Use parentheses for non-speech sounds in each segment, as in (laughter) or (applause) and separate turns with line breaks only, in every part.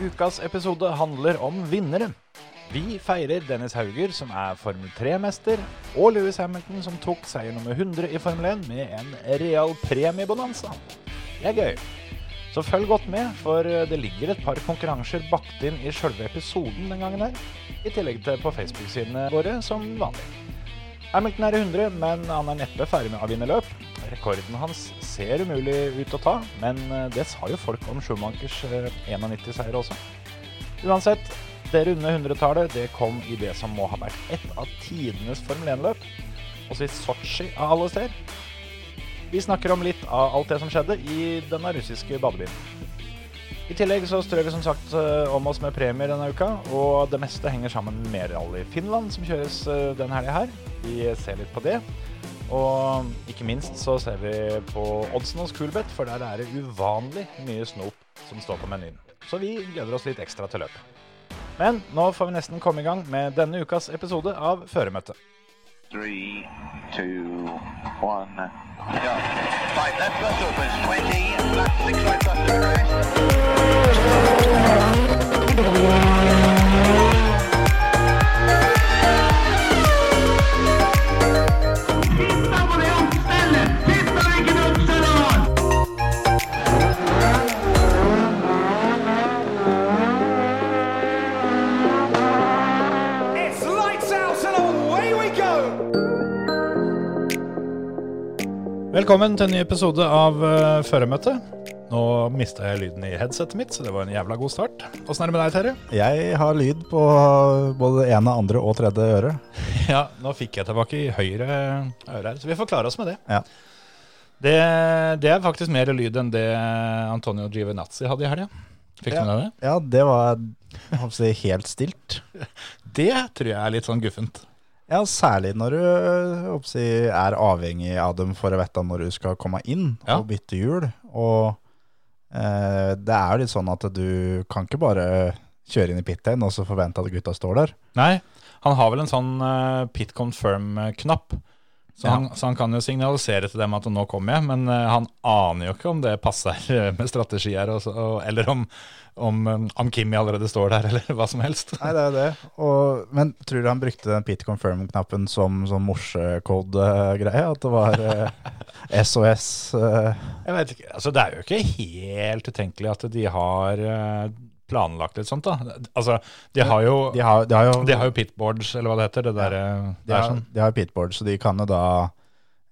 Ukas episode handler om vinnere. Vi feirer Dennis Hauger, som er Formel 3-mester, og Lewis Hamilton, som tok seier nummer 100 i Formel 1 med en real premiebonanza. Det er gøy. Så følg godt med, for det ligger et par konkurranser bakt inn i sjølve episoden den gangen her, i tillegg til på Facebook-sidene våre som vanlig. Hamilton er i 100, men han er neppe ferdig med å vinne løp. Rekorden hans ser umulig ut å ta, men eh, det sa jo folk om Schumachers 91-seier også. Uansett, det runde 100-tallet det kom i det som må ha vært ett av tidenes Formel 1-løp, også i Sotsji av alle steder. Vi snakker om litt av alt det som skjedde i denne russiske badebyen. I tillegg så strør vi som sagt eh, om oss med premier denne uka, og det meste henger sammen med rally Finland som kjøres eh, den helga her. Vi ser litt på det. Og ikke minst så ser vi på oddsen hos Coolbet, for der er det uvanlig mye snop som står på menyen. Så vi gleder oss litt ekstra til løpet. Men nå får vi nesten komme i gang med denne ukas episode av Føremøtet.
Three, two, one, go. Five left bus opens, 20, left six right bus to arrest.
It's lights out and away we go!
Velkommen til en ny episode av uh, Føremøtet. Nå mista jeg lyden i headsetet mitt, så det var en jævla god start. Åssen er det med deg, Terje?
Jeg har lyd på både det ene, andre og tredje øre.
Ja, nå fikk jeg tilbake i høyre øre her, så vi får klare oss med det.
Ja.
Det, det er faktisk mer lyd enn det Antonio Givenazzi hadde i helga. Fikk du med deg det?
Ja, det var jeg håper å si, helt stilt.
Det tror jeg er litt sånn guffent.
Ja, Særlig når du jeg håper å si, er avhengig av dem for å vite når du skal komme inn
Ja.
og bytte hjul. Og eh, det er jo litt sånn at du kan ikke bare kjøre inn i pit lane og så forvente at gutta står der.
Nei, han har vel en sånn eh, pit confirm-knapp. Så,
Ja.
han, så han kan jo signalisere til dem at nå kommer jeg, men eh, han aner jo ikke om det passer (laughs) eh, med strategi her, og, så- og, eller om, om, eh, om Kimi allerede står der, (laughs) eller hva som helst.
Nei, det er jo det. Og, men tror du han brukte den pit confirm-knappen som sånn morsekode-greie? At det var eh, SOS? Eh,
Jeg vet ikke, altså Det er jo ikke helt utenkelig at de har eh, planlagt litt sånt, da. Altså, de har jo,
de, har, de har jo
de har jo pitboards, eller hva det heter. Det der, eh,
De
det er
har,
sånn.
de har pitboard, så de kan jo da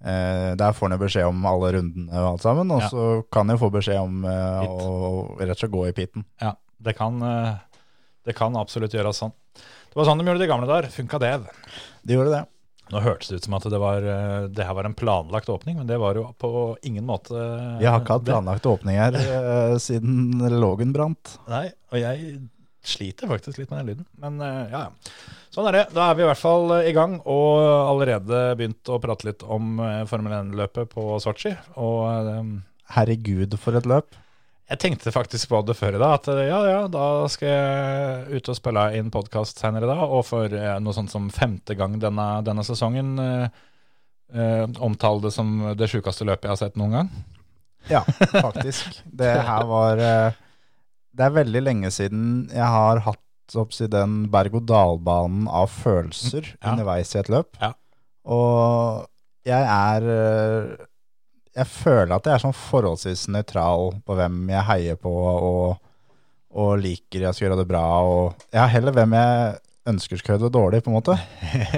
eh, Der får han jo beskjed om alle rundene og alt sammen, og
Ja.
så kan han jo få beskjed om eh,
Pit.
å rett og slett gå i piten.
Ja, det kan, eh, det kan absolutt gjøres sånn. Det var sånn de gjorde det i gamle dager. Funka det?
De gjorde det.
Nå hørtes det ut som at det, var, eh, det her var en planlagt åpning, men det var jo på ingen måte eh,
Vi har ikke hatt
det.
planlagt åpning her eh, siden Lågen brant.
Nei, og jeg sliter faktisk litt med den lyden. Men eh, ja, ja. Sånn er det. Da er vi i hvert fall eh, i gang, og allerede begynt å prate litt om eh, Formel 1-løpet på Sotsji. Og eh,
Herregud, for et løp.
Jeg tenkte faktisk på det før i dag, at eh, ja, ja, da skal jeg ut og spille inn podkast senere i dag, og for eh, noe sånt som femte gang denne, denne sesongen eh, eh, omtale det som det sjukeste løpet jeg har sett noen gang.
Ja, faktisk. Det her var eh, Det er veldig lenge siden jeg har hatt så å si, den berg-og-dal-banen av følelser
Mm, Ja.
underveis i et løp.
Ja.
Og jeg er eh, Jeg føler at jeg er sånn forholdsvis nøytral på hvem jeg heier på og, og liker jeg skal gjøre det bra. Og jeg har heller hvem jeg ønsker skal gjøre det dårlig, på en måte.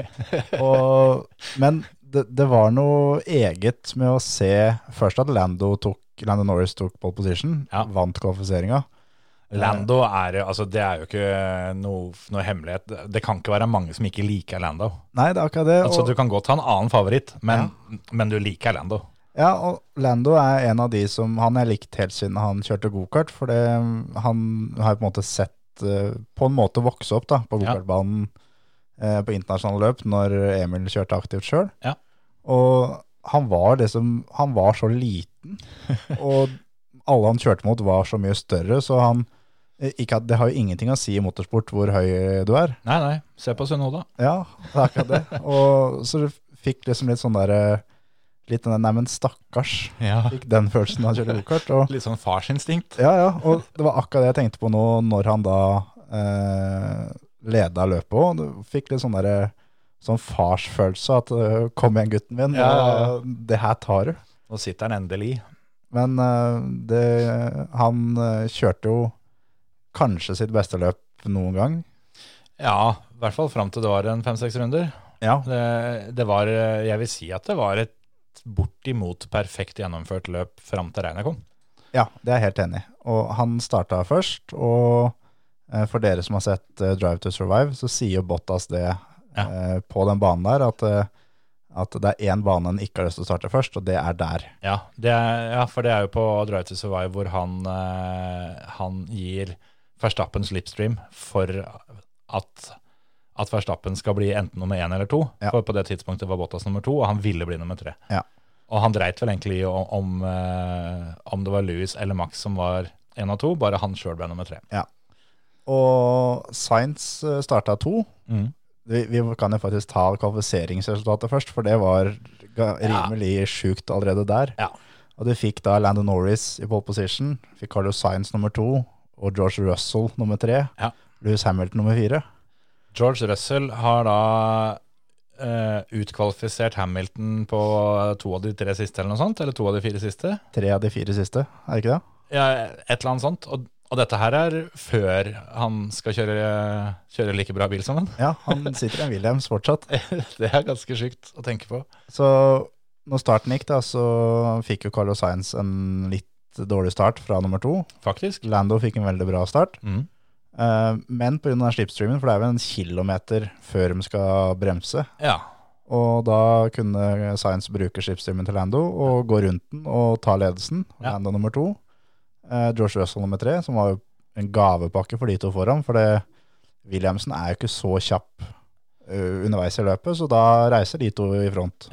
(laughs)
Og, men det, det var noe eget med å se først at Lando, tok, Lando Norris tok pole position,
Ja.
vant kvalifiseringa.
Lando er jo altså Det er jo ikke noe, noe hemmelighet. Det- Det kan ikke være mange som ikke liker Lando.
Nei, det er akkurat det.
Altså
og,
Du kan godt ha en annen favoritt, men, men du liker Lando.
ja, og Lando er en av de som han har likt helt siden han kjørte gokart, for det, han har jo på en måte sett eh, på en måte vokse opp da, på
Ja.
gokartbanen eh, på internasjonale løp når Emil kjørte aktivt sjøl.
Ja.
Og han var liksom Han var så liten,
(laughs)
og alle han kjørte mot, var så mye større, så han eh, ikke, at- Det har jo ingenting å si i motorsport hvor høy du er.
Nei, nei. Se på Sunoda. (laughs)
Ja, det er akkurat det. Og så du fikk liksom litt sånn der eh, litt den der, nei, men stakkars,
Ja.
fikk den følelsen da han kjørte gokart. Og,
Litt sånn farsinstinkt.
ja, ja, og det var akkurat det jeg tenkte på nå, når han da eh, leda løpet òg. Fikk litt sånn derre sånn farsfølelse, at eh, kom igjen, gutten min,
Ja, ja, ja.
og det her tar du.
Nå sitter han endelig.
Men eh, det, han eh, kjørte jo kanskje sitt beste løp noen gang.
Ja, i hvert fall fram til det var en fem-seks runder.
Ja,
Det, det var, eh, jeg vil si at det var et bortimot perfekt gjennomført løp fram til regnet kom.
Ja, det er jeg helt enig i. Og han starta først, og eh, for dere som har sett eh, Drive to Survive, så sier jo Bottas det eh, på den banen der, at, eh, at det er én bane han ikke har lyst til å starte først, og det er der.
Ja, det er, ja for det er jo på Drive to Survive hvor han, eh, han gir Verstappen slipstream for at, at Verstappen skal bli enten nummer én eller to.
Ja.
For på det tidspunktet var Bottas nummer to, og han ville bli nummer tre.
Ja.
Og han dreit vel egentlig i om, om, eh, om det var Louis eller Max som var én av to, bare han sjøl ble nummer tre.
Og Science starta to.
Mm.
Vi, vi kan jo faktisk ta kvalifiseringsresultatet først, for det var ga- rimelig sjukt allerede der.
Ja.
Og du fikk da Landon Norris i pole position, fikk Carlo Sainz nummer to, og George Russell nummer tre,
Ja.
Lewis Hamilton nummer fire.
George Russell har da eh, utkvalifisert Hamilton på to av de tre siste, eller noe sånt, eller to av de fire siste.
tre av de fire siste, er det ikke det?
Ja, et eller annet sånt. Og, og dette her er før han skal kjøre, kjøre like bra bil som han.
Ja, han sitter i en Williams fortsatt.
(laughs) Det er ganske sykt å tenke på.
Så når starten gikk, da, så fikk jo Carlo Sainz en litt dårlig start fra nummer to.
Faktisk.
Lando fikk en veldig bra start,
Mm.
eh, men pga. slipstreamen, for det er jo en kilometer før de skal bremse,
Ja.
og da kunne Sainz bruke slipstreamen til Lando og gå rundt den og ta ledelsen.
Ja.
Lando nummer to. eh, George Russell nummer tre, som var jo en gavepakke for de to foran, for det, Williamsen er jo ikke så kjapp eh, underveis i løpet, så da reiser de to i front.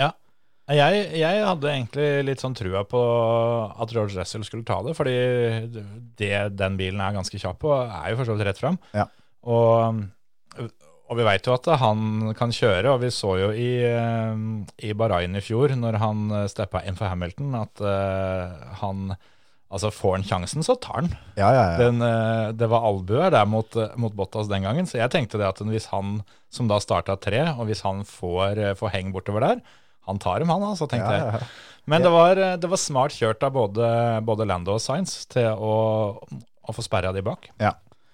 Jeg, jeg hadde egentlig litt sånn trua på at George Russell skulle ta det, fordi det den bilen er ganske kjapp på, er jo for så vidt rett fram.
Ja.
Og, og vi veit jo at han kan kjøre, og vi så jo i, eh, i Bahrain i fjor, når han steppa inn for Hamilton, at eh, han Altså, får han sjansen, så tar han.
Ja, ja, ja.
Den, eh, det var albuer der mot, eh, mot Bottas den gangen, så jeg tenkte det at hvis han som da starta tre, og hvis han får, eh, får heng bortover der, han tar dem han, altså, tenkte
Ja, ja, ja.
jeg. Men det var, eh, det var smart kjørt av både, både Lando og Science til å, å få sperra de bak.
Ja.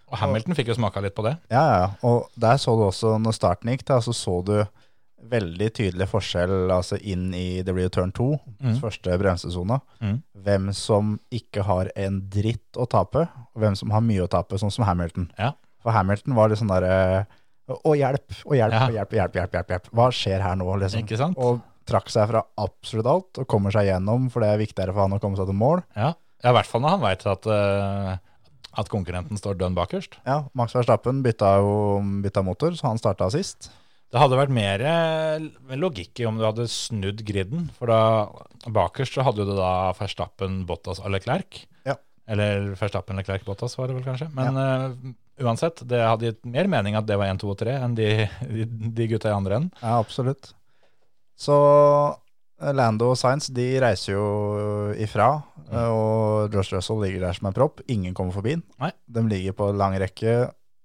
Og Hamilton fikk jo smaka litt på det.
Ja, ja. Og der så du også, når starten gikk, da, så så du veldig tydelig forskjell altså inn i det blir jo turn 2, første bremsesona.
Mm.
Hvem som ikke har en dritt å tape, og hvem som har mye å tape, sånn som Hamilton.
Ja.
For Hamilton var litt sånn derre Å, hjelp! Å, hjelp!
Ja.
Å, hjelp, hjelp, hjelp, hjelp, hjelp! Hva skjer her nå, liksom?
Ikke sant?
Og trakk seg fra absolutt alt og kommer seg gjennom, for det er viktigere for han å komme seg til mål.
Ja, ja i hvert fall når han veit at, eh, at konkurrenten står dønn bakerst.
Ja, Max Verstappen bytta jo bytta motor, så han starta sist.
Det hadde vært mer eh, logikk i om du hadde snudd griden. For da bakerst så hadde du da Verstappen, Bottas og Leclerc.
Ja.
Eller Verstappen, Leclerc, Bottas var det vel kanskje. Men eh, uansett, det hadde gitt mer mening at det var 1, 2 og 3 enn de, de, de gutta i andre enden.
Ja, absolutt. Så eh, Lando og Sainz de reiser jo ifra,
Mm.
eh, og Josh Russell ligger der som en propp. Ingen kommer forbi den.
Nei.
De ligger på lang rekke.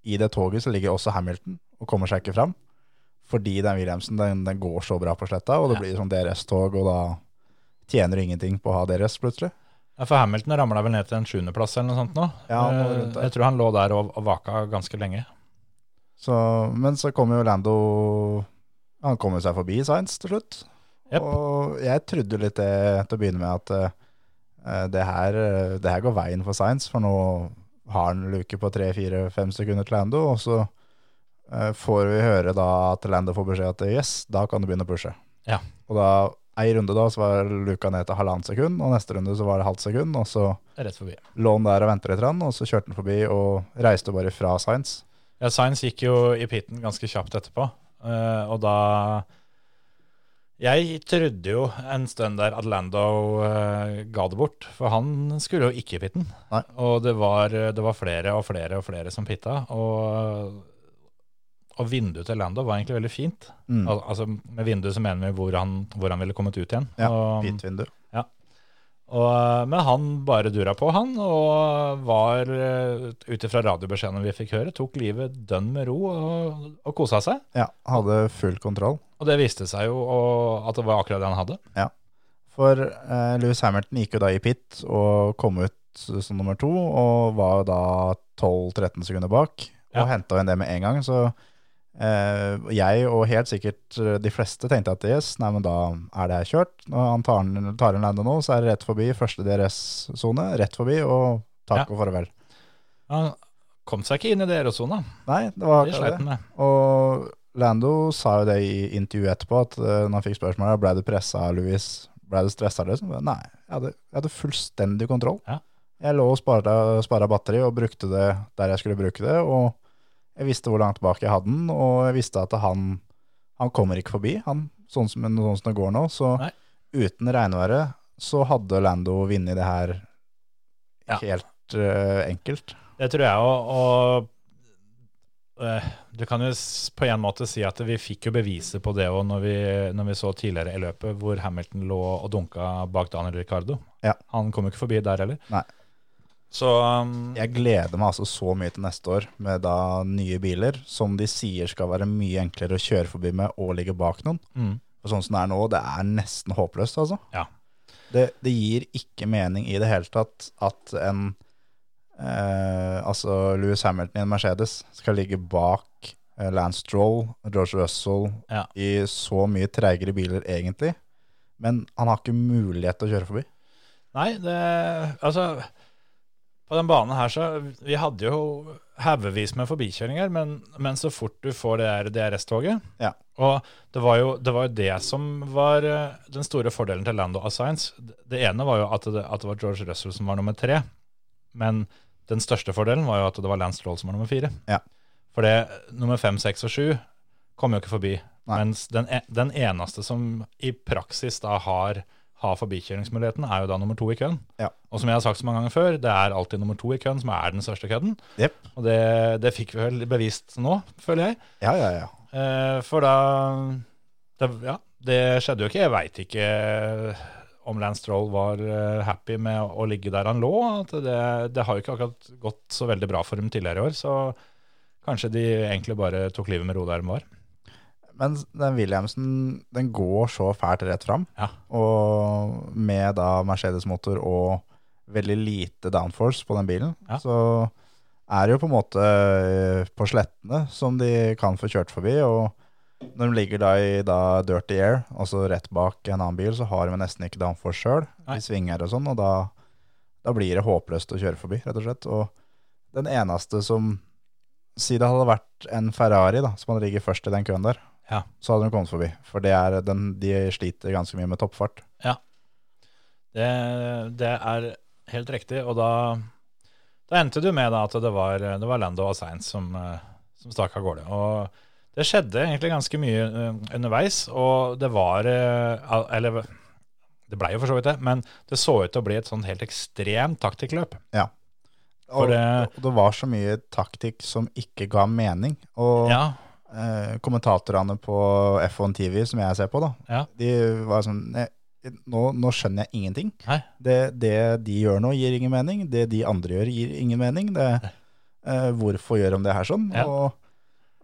I det toget så ligger også Hamilton og kommer seg ikke fram. Fordi den Williamsen den, den går så bra på sletta, og det
Ja.
blir sånn DRS-tog, og da tjener du ingenting på å ha DRS plutselig.
Ja, For Hamilton ramla vel ned til en sjuendeplass eller noe sånt nå.
Ja, han var
Eh,
rundt der.
jeg tror han lå der og, og vaka ganske lenge.
Så, men så kommer jo Lando Han kommer seg forbi Sainz til slutt.
Jep.
Og jeg trodde jo litt det til å begynne med at eh, det, her, eh, det her går veien for Sainz, for nå har han luke på tre-fire-fem sekunder til Lando, og så eh, får vi høre da at Lando får beskjed at yes, da kan du begynne å pushe.
Ja.
Og da ei runde da så var luka ned til halvannet sekund, og neste runde så var det halvt sekund, og så
Rett forbi.
lå han der og ventet litt, grann, og så kjørte han forbi og reiste bare fra Sainz.
Ja, Sainz gikk jo i pitten ganske kjapt etterpå, eh, og da Jeg trodde jo en stund der at Lando eh, ga det bort, for han skulle jo ikke i pitten.
Nei.
Og det var, det var flere og flere og flere som pitta, og, Og vinduet til Lando var egentlig veldig fint.
Mm.
Al altså, med vindu så mener vi hvor han, hvor han ville kommet ut igjen.
Ja,
og,
Hvitt vindu.
og, eh, men han bare dura på, han, og var, eh, ut ifra radiobeskjedene vi fikk høre, tok livet dønn med ro og, og kosa seg.
Ja, hadde full kontroll.
Og det viste seg jo og, at det var akkurat det han hadde.
For eh, Lewis Hamilton gikk jo da i pit og kom ut som nummer to, og var jo da 12-13 sekunder bak, og
Ja.
hentet henta en det med en gang. Så eh, jeg, og helt sikkert eh, de fleste, tenkte at yes, nei, men da er det her kjørt. Når han tar, den- tar en lande nå, så er det rett forbi første DRS-sone, rett forbi, og takk og farvel.
Han kom seg ikke inn i DR-sona.
Nei, det var
Det
akkurat
sleit
det.
han med.
Og Lando sa jo det i intervjuet etterpå, at eh, når han fikk spørsmålet ble du pressa av Louis, ble du stressa av Liksom? Nei, jeg hadde, jeg hadde fullstendig kontroll.
Ja.
Jeg lå og spara, spara batteri og brukte det der jeg skulle bruke det, og jeg visste hvor langt bak jeg hadde den, og jeg visste at han, han kommer ikke forbi, han, sånn, som, men sånn som det går nå. Så
Nei.
uten regnværet så hadde Lando vunnet det her
Ja.
helt eh, enkelt.
Det tror jeg òg. Og eh, du kan jo s- på en måte si at vi fikk jo beviset på det òg når, vi- når vi så tidligere i løpet hvor Hamilton lå og dunka bak Daniel Ricardo.
Ja.
Han kom jo ikke forbi der heller.
Nei.
Så um,
Jeg gleder meg altså så mye til neste år med da nye biler, som de sier skal være mye enklere å kjøre forbi med og ligge bak noen.
mm,
Og sånn som det er nå, det er nesten håpløst, altså.
Ja.
Det, det gir ikke mening i det hele tatt at en eh, Altså Louis Hamilton i en Mercedes skal ligge bak eh, Lance Stroll, George Russell,
Ja.
i så mye treigere biler, egentlig. Men han har ikke mulighet til å kjøre forbi.
Nei, det Altså, på den banen her, så Vi hadde jo haugevis med forbikjøringer, men, men så fort du får det der DRS-toget
Ja.
Og det var, jo, det var jo det som var eh, den store fordelen til Lando Assigns. Det ene var jo at det, at det var George Russell som var nummer tre, men den største fordelen var jo at det var Lance Stroll som var nummer fire.
Ja.
For det nummer fem, seks og sju kom jo ikke forbi.
Nei.
Mens den, e- den eneste som i praksis da har, har forbikjøringsmuligheten, er jo da nummer to i køen.
Ja.
Og som jeg har sagt så mange ganger før, det er alltid nummer to i køen som er den største kødden.
Jep.
Og det, det fikk vi vel bevist nå, føler jeg.
Ja, ja, ja.
Eh, for da det, Ja, det skjedde jo ikke. Jeg veit ikke eh, om Lance Stroll var eh, happy med å, å ligge der han lå. At det, det har jo ikke akkurat gått så veldig bra for dem tidligere i år, så kanskje de egentlig bare tok livet med ro der de var.
Men den Williamsen, den går så fælt rett fram.
Ja.
Og med da Mercedes-motor og veldig lite downforce på den bilen,
Ja.
så er det jo på en måte eh, på slettene som de kan få kjørt forbi. Og når de ligger da i da dirty air, altså rett bak en annen bil, så har de nesten ikke downforce sjøl.
Nei.
De svinger og sånn, og da, da blir det håpløst å kjøre forbi, rett og slett. Og den eneste som Si det hadde vært en Ferrari da, som hadde ligget først i den køen der,
Ja.
så hadde de kommet forbi. For det er den, de sliter ganske mye med toppfart.
Det, det er helt riktig, og da, da endte du med da at det var, det var Lando og Sainz som, eh, som stakk av gårde. Og det skjedde egentlig ganske mye eh, underveis, og det var eh, al- Eller det blei jo for så vidt det, men det så ut til å bli et sånn helt ekstremt taktikkløp. For
Og,
det-
og det var så mye taktikk som ikke ga mening. Og
Ja,
eh, kommentatorene på F1 TV, som jeg ser på, da,
Ja.
de var sånn "Nei, nå, nå skjønner jeg ingenting.
Nei.
Det, det de gjør nå, gir ingen mening. Det de andre gjør, gir ingen mening. Det, eh, hvorfor gjør de det her sånn?
Ja.
Og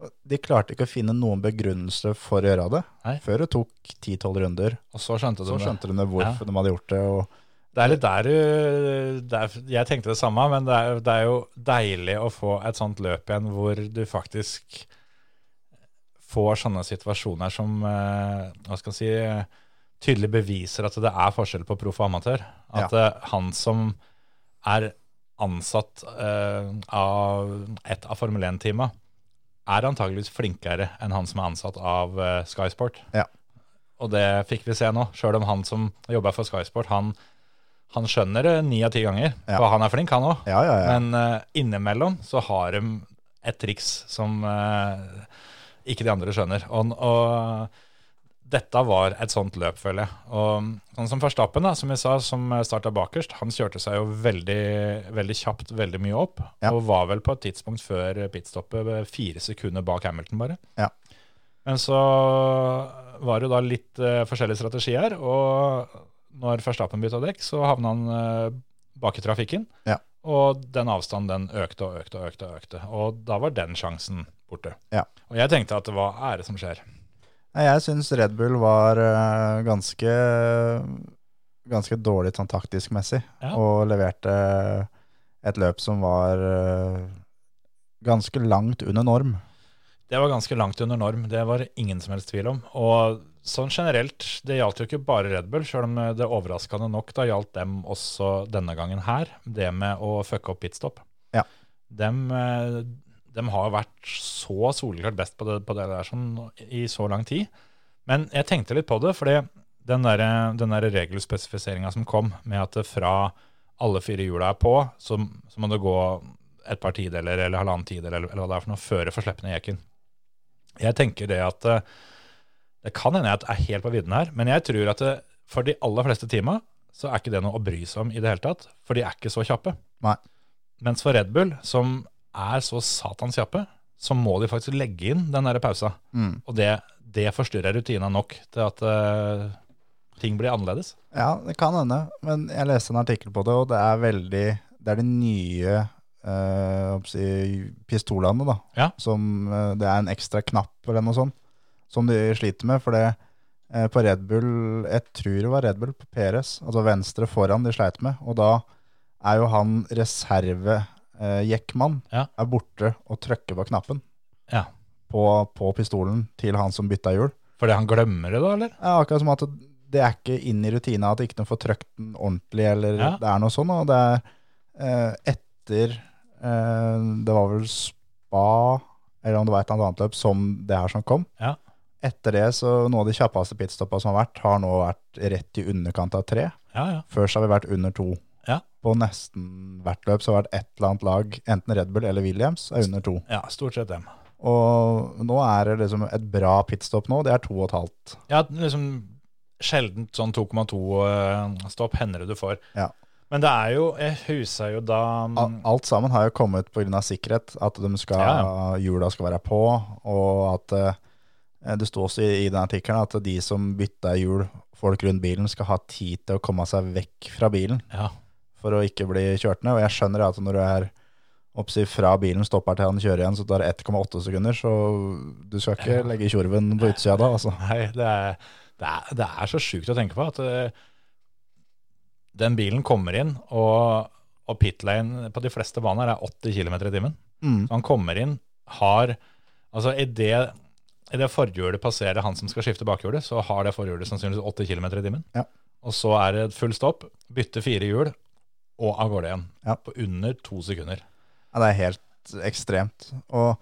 og de klarte ikke å finne noen begrunnelse for å gjøre det.
Nei.
Før det tok 10-12 runder,
og så skjønte du
så
det.
skjønte de hvorfor
Ja.
de hadde gjort det. Og
Det er litt der du det er, Jeg tenkte det samme, men det er, det er jo deilig å få et sånt løp igjen hvor du faktisk får sånne situasjoner som eh, hva skal jeg si, tydelig beviser at det er forskjell på proff og amatør. At eh, han som er ansatt eh, av et av Formel 1-teama, er antageligvis flinkere enn han som er ansatt av eh, Sky Sport.
Ja.
Og det fikk vi se nå, sjøl om han som jobber for Sky Sport, han, han skjønner det ni av ti ganger.
Ja.
For han er flink, han òg.
ja, ja, ja.
Men eh, innimellom så har de et triks som eh, ikke de andre skjønner. Og, og dette var et sånt løp, føler jeg. Og sånn som Verstappen, da, som jeg sa, som starta bakerst, han kjørte seg jo veldig, veldig kjapt veldig mye opp.
Ja.
Og var vel på et tidspunkt før pitstoppet eh, fire sekunder bak Hamilton, bare.
Ja.
Men så var det jo da litt eh, forskjellige strategier, og når Verstappen bytta dekk, så havna han eh, bak i trafikken.
Ja.
Og den avstanden den økte og økte og økte, og økte. Og da var den sjansen borte.
Ja.
Og jeg tenkte at hva er det som skjer?
Nei, Jeg syns Red Bull var eh, ganske Ganske dårlig sånn taktisk messig,
Ja.
og leverte et løp som var eh, ganske langt under norm.
Det var ganske langt under norm, det var det ingen som helst tvil om. Og sånn generelt, det gjaldt jo ikke bare Red Bull, selv om eh, det overraskende nok da gjaldt dem også denne gangen her, det med å fucke opp pitstop.
Ja.
Dem, eh, dem har vært så soleklart best på det, på det der sånn, i så lang tid. Men jeg tenkte litt på det, fordi den der, eh, den der regelspesifiseringen som kom, med at det fra alle fire hjula er på, så, så må det gå et par tideler eller halvannen tidel eller, eller hva det er for noe, før det får slippe ned jekken. Jeg tenker det at eh, Det kan hende jeg at jeg er helt på vidden her, men jeg tror at det, for de aller fleste teama så er ikke det noe å bry seg om i det hele tatt, for de er ikke så kjappe.
Nei.
Mens for Red Bull, som er så satans kjappe, så må de faktisk legge inn den der pausa.
Mm.
Og det, det forstyrrer rutina nok til at eh, ting blir annerledes.
Ja, det kan hende, men jeg leste en artikkel på det, og det er veldig Det er de nye eh, hva skal jeg si, pistolene, da.
Ja.
Som eh, Det er en ekstra knapp eller noe sånt som de sliter med. For det eh, på Red Bull Jeg tror det var Red Bull på Peres, altså venstre foran, de sleit med. Og da er jo han reservejekkmann
Ja.
er borte og trykker på knappen
Ja.
på, på pistolen til han som bytta hjul.
Fordi han glemmer det da, eller?
Ja, akkurat som at det er ikke inn i rutina at ikke noen får trøkt den ordentlig, eller
Ja.
det er noe sånn, og det er eh, etter eh, det var vel spa, eller om det var et eller annet løp, som det her som kom.
Ja.
Etter det, så noen av de kjappeste pitstoppa som har vært, har nå vært rett i underkant av tre.
Ja, ja.
Før så har vi vært under to.
Ja.
På nesten hvert løp så har det vært et eller annet lag, enten Red Bull eller Williams, er under to.
Ja, stort sett dem.
Og nå er det liksom et bra pitstop nå, det er to og et halvt.
Ja, liksom sjelden sånn 2,2-stopp eh, hender det du får.
Ja.
Men det er jo Jeg husa jo da
Al- Alt sammen har jo kommet pga. sikkerhet. At de skal,
Mm. Ja,
hjula skal være på, og at eh, det står også i, i den artikkelen at de som bytta hjul, folk rundt bilen, skal ha tid til å komme seg vekk fra bilen
Ja.
for å ikke bli kjørt ned. Og jeg skjønner at når du er oppsi fra bilen stopper til han kjører igjen, så tar det 1,8 sekunder, så du skal ikke legge tjorven på utsida da, altså.
Nei, det er, det er, det er så sjukt å tenke på at eh, den bilen kommer inn, og, og pitlane på de fleste baner er 80 km i timen.
Mm.
Så han kommer inn, har Altså, i det, i det forhjulet passerer han som skal skifte bakhjulet, så har det forhjulet sannsynligvis 80 km i timen.
Ja.
Og så er det et full stopp, bytte fire hjul, og av gårde igjen.
Ja.
På under to sekunder.
Ja, det er helt ekstremt. Og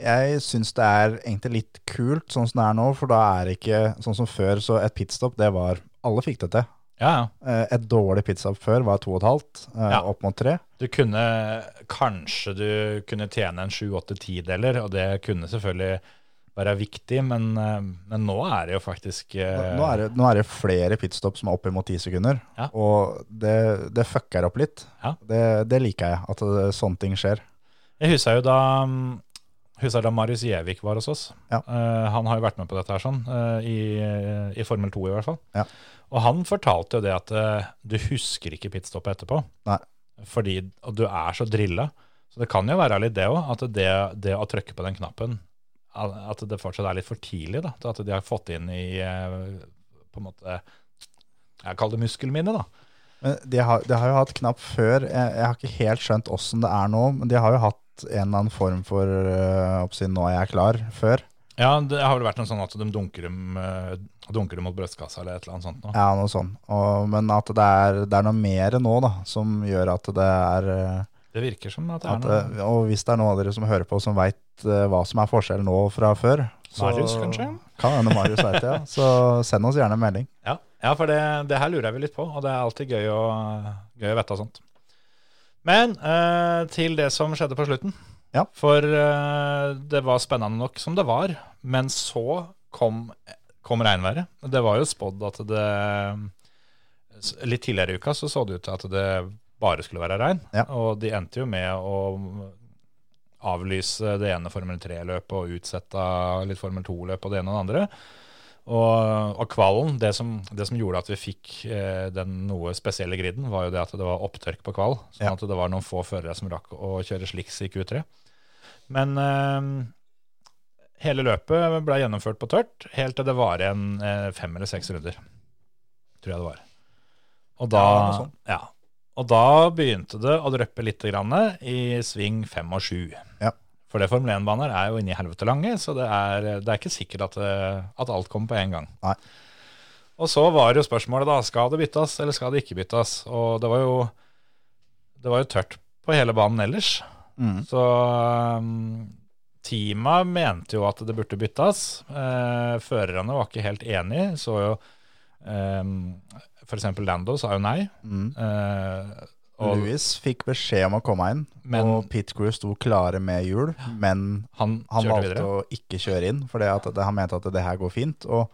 jeg syns det er egentlig litt kult sånn som det er nå, for da er det ikke sånn som før, så et pitstop, det var Alle fikk det til.
Ja, ja.
Eh, Et dårlig pitstop før var to og et halvt, eh,
Ja.
opp mot tre.
Du kunne Kanskje du kunne tjene en sju-åtte tideler, og det kunne selvfølgelig være viktig, men, eh, men nå er det jo faktisk eh,
Nå er det, nå er det flere pitstop som er opp imot ti sekunder,
Ja.
og det, det fucker opp litt.
Ja.
Det, det liker jeg, at det, sånne ting skjer.
Jeg husker jo da mm, Husker da Marius Gjevik var hos oss.
Ja.
Eh, han har jo vært med på dette her sånn, eh, i, i Formel 2 i hvert fall.
Ja.
Og han fortalte jo det at eh, du husker ikke pitstoppet etterpå.
Nei.
Fordi og du er så drilla. Så det kan jo være litt det òg, at det, det å trykke på den knappen al- At det fortsatt er litt for tidlig, da. At de har fått inn i eh, på en måte Jeg kaller det muskelminne, da.
Men de har, de har jo hatt knapp før. Jeg, jeg har ikke helt skjønt åssen det er nå, men de har jo hatt en eller annen form for eh, oppsiden 'nå er jeg klar' før.
Ja, det har vel vært noe sånn at de dunker dem, eh, dunker dem mot brystkassa eller et eller annet sånt. Nå.
Ja, noe sånn. Og, men at det er, det er noe mer nå da, som gjør at det er, eh,
Det virker som at det er
at,
noe
eh, Og hvis det er noen av dere som hører på som veit hva som er forskjellen nå fra før
Marius, kanskje?
Kan hende Marius vet det, ja. Så send oss gjerne en melding.
Ja, ja for det, det her lurer jeg vel litt på, og det er alltid gøy å, gøy å vite av sånt. Men eh, til det som skjedde på slutten.
Ja.
For eh, det var spennende nok som det var, men så kom kom regnværet. Det var jo spådd at det s- Litt tidligere i uka så, så det ut til at det bare skulle være regn.
Ja.
Og de endte jo med å avlyse det ene Formel 3-løpet og utsette litt Formel 2-løp og det ene og det andre. Og, og kvalen, det som, det som gjorde at vi fikk eh, den noe spesielle griden, var jo det at det var opptørk på kval. Sånn
Ja.
at det var noen få førere som rakk å kjøre sliks i Q3. Men eh, hele løpet ble gjennomført på tørt, helt til det var igjen eh, fem eller seks runder. Tror jeg det var. Og da,
Ja, noe sånt.
ja, og da begynte det å dryppe litt grann i sving fem og sju.
Ja.
For det Formel 1-baner er jo inni helvete lange, så det er, det er ikke sikkert at, eh, at alt kommer på én gang.
Nei.
Og så var jo spørsmålet da, skal det byttes, eller skal det ikke byttes? Og det var jo, det var jo tørt på hele banen ellers.
Mm.
Så um, teama mente jo at det burde byttes. Eh, førerne var ikke helt enige, så jo um, for eksempel Lando sa jo nei.
Mm.
Eh, (laughs) og
Louis fikk beskjed om å komme inn,
Men-
og pit crew sto klare med hjul, men
han,
han
kjørte
valgte
videre.
å ikke kjøre inn, for han mente at det her går fint. Og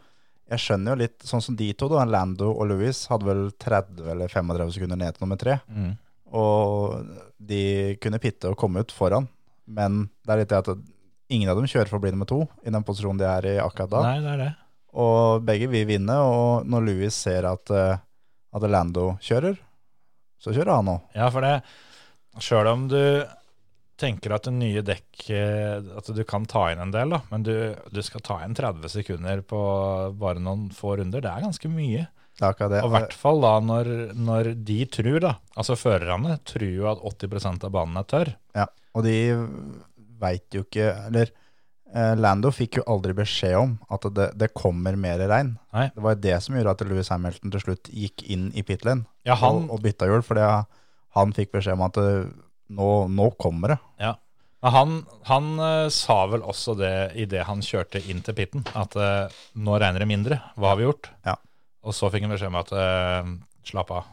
jeg skjønner jo litt, sånn som de to, da, Lando og Louis, hadde vel 30 eller 35 sekunder ned til nummer tre.
Mm.
Og de kunne pitte og komme ut foran, men det er litt det at ingen av dem kjører forbi nummer to i den posisjonen de er i akkurat da.
Nei, det er det.
Og begge vil vinne, og når Louis ser at, eh, at Lando kjører, så kjører han òg.
Ja, for det Sjøl om du tenker at det nye dekk eh, At du kan ta inn en del, da, men du, du skal ta inn 30 sekunder på bare noen få runder. Det er ganske mye.
Det er akkurat det.
Og i hvert fall da når, når de tror, da. Altså førerne tror jo at 80 av banen er tørr.
Ja, og de veit jo ikke Eller eh, Lando fikk jo aldri beskjed om at det, det kommer mer regn.
Nei.
Det var det som gjorde at Louis Hamilton til slutt gikk inn i pit lane
Ja, han,
og, og bytta hjul, fordi han fikk beskjed om at eh, nå, nå kommer det.
ja. Men han, han eh, sa vel også det idet han kjørte inn til pitten, at eh, nå regner det mindre, hva har vi gjort?
Ja.
Og så fikk han beskjed om at eh, slapp av.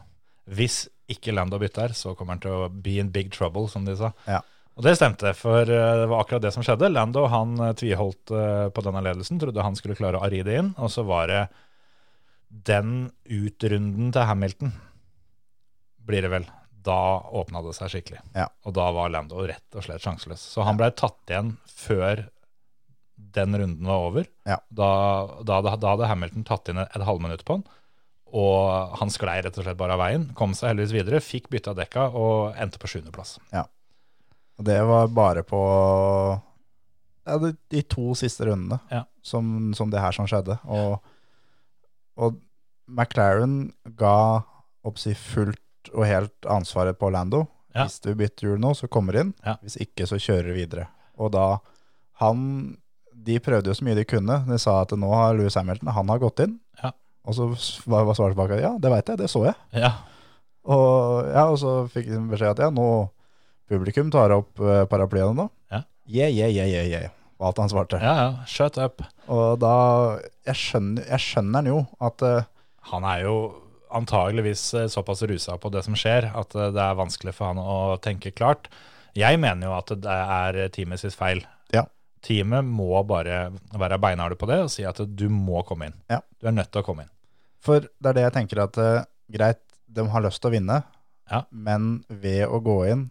Hvis ikke Lando bytter, så kommer han til å be in big trouble, som de sa.
Ja.
Og det stemte, for eh, det var akkurat det som skjedde. Lando han eh, tviholdt eh, på denne ledelsen, trodde han skulle klare å ari det inn, og så var det den utrunden til Hamilton, blir det vel. Da åpna det seg skikkelig.
Ja.
Og da var Lando rett og slett sjanseløs. Så han blei tatt igjen før den runden var over.
Ja.
Da, da, da, da hadde Hamilton tatt inn et, et halvminutt på han, og han sklei rett og slett bare av veien. Kom seg heldigvis videre, fikk bytta dekka og endte på sjuendeplass.
Og det var bare på ja, de, de to siste rundene
Ja.
som, som det her som skjedde. Og, og McLaren ga opp si fullt og helt ansvaret på Lando.
Ja.
Hvis du bytter hjul nå, så kommer du inn.
Ja.
Hvis ikke, så kjører du videre. Og da han De prøvde jo så mye de kunne. De sa at nå har Louis Hamilton han har gått inn.
Ja.
Og så s- var var svaret tilbake ja, det veit jeg, det så jeg.
Ja,
Og, ja, og så fikk de beskjed at ja, nå publikum tar opp eh, paraplyene nå.
Ja.
Yeah, yeah, yeah, yeah, yeah. Var alt han svarte.
ja, ja. Shut up.
Og da, jeg skjønner, jeg skjønner han jo at eh,
Han er jo antageligvis eh, såpass rusa på det som skjer, at eh, det er vanskelig for han å tenke klart. Jeg mener jo at det er teamet sitt feil.
Ja.
Teamet må bare være beinharde på det og si at du må komme inn.
Ja.
Du er nødt til å komme inn.
For det er det jeg tenker at eh, greit, de har lyst til å vinne,
Ja.
men ved å gå inn,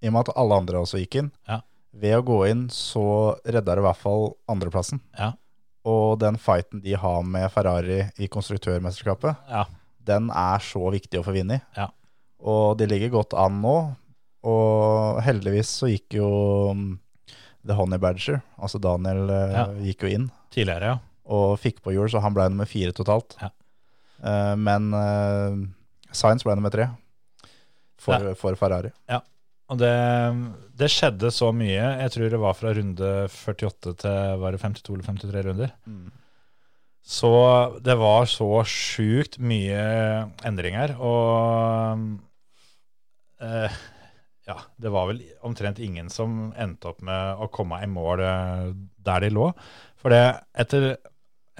i og med at alle andre også gikk inn,
Ja.
ved å gå inn så redder det i hvert fall andreplassen.
Ja.
Og den fighten de har med Ferrari i konstruktørmesterskapet,
Ja.
den er så viktig å få vinne i.
Ja.
Og de ligger godt an nå, og heldigvis så gikk jo mm, The Honey Badger, altså Daniel, eh,
Ja.
gikk jo inn
Tidligere, ja.
og fikk på hjul, så han ble nummer fire totalt.
Ja.
Eh, men eh, Sainz ble nummer tre for,
Ja.
for Ferrari.
Og det, det skjedde så mye. Jeg tror det var fra runde 48 til var det 52 eller 53 runder. Så det var så sjukt mye endringer. Og eh, ja, det var vel omtrent ingen som endte opp med å komme i mål eh, der de lå. For det, etter,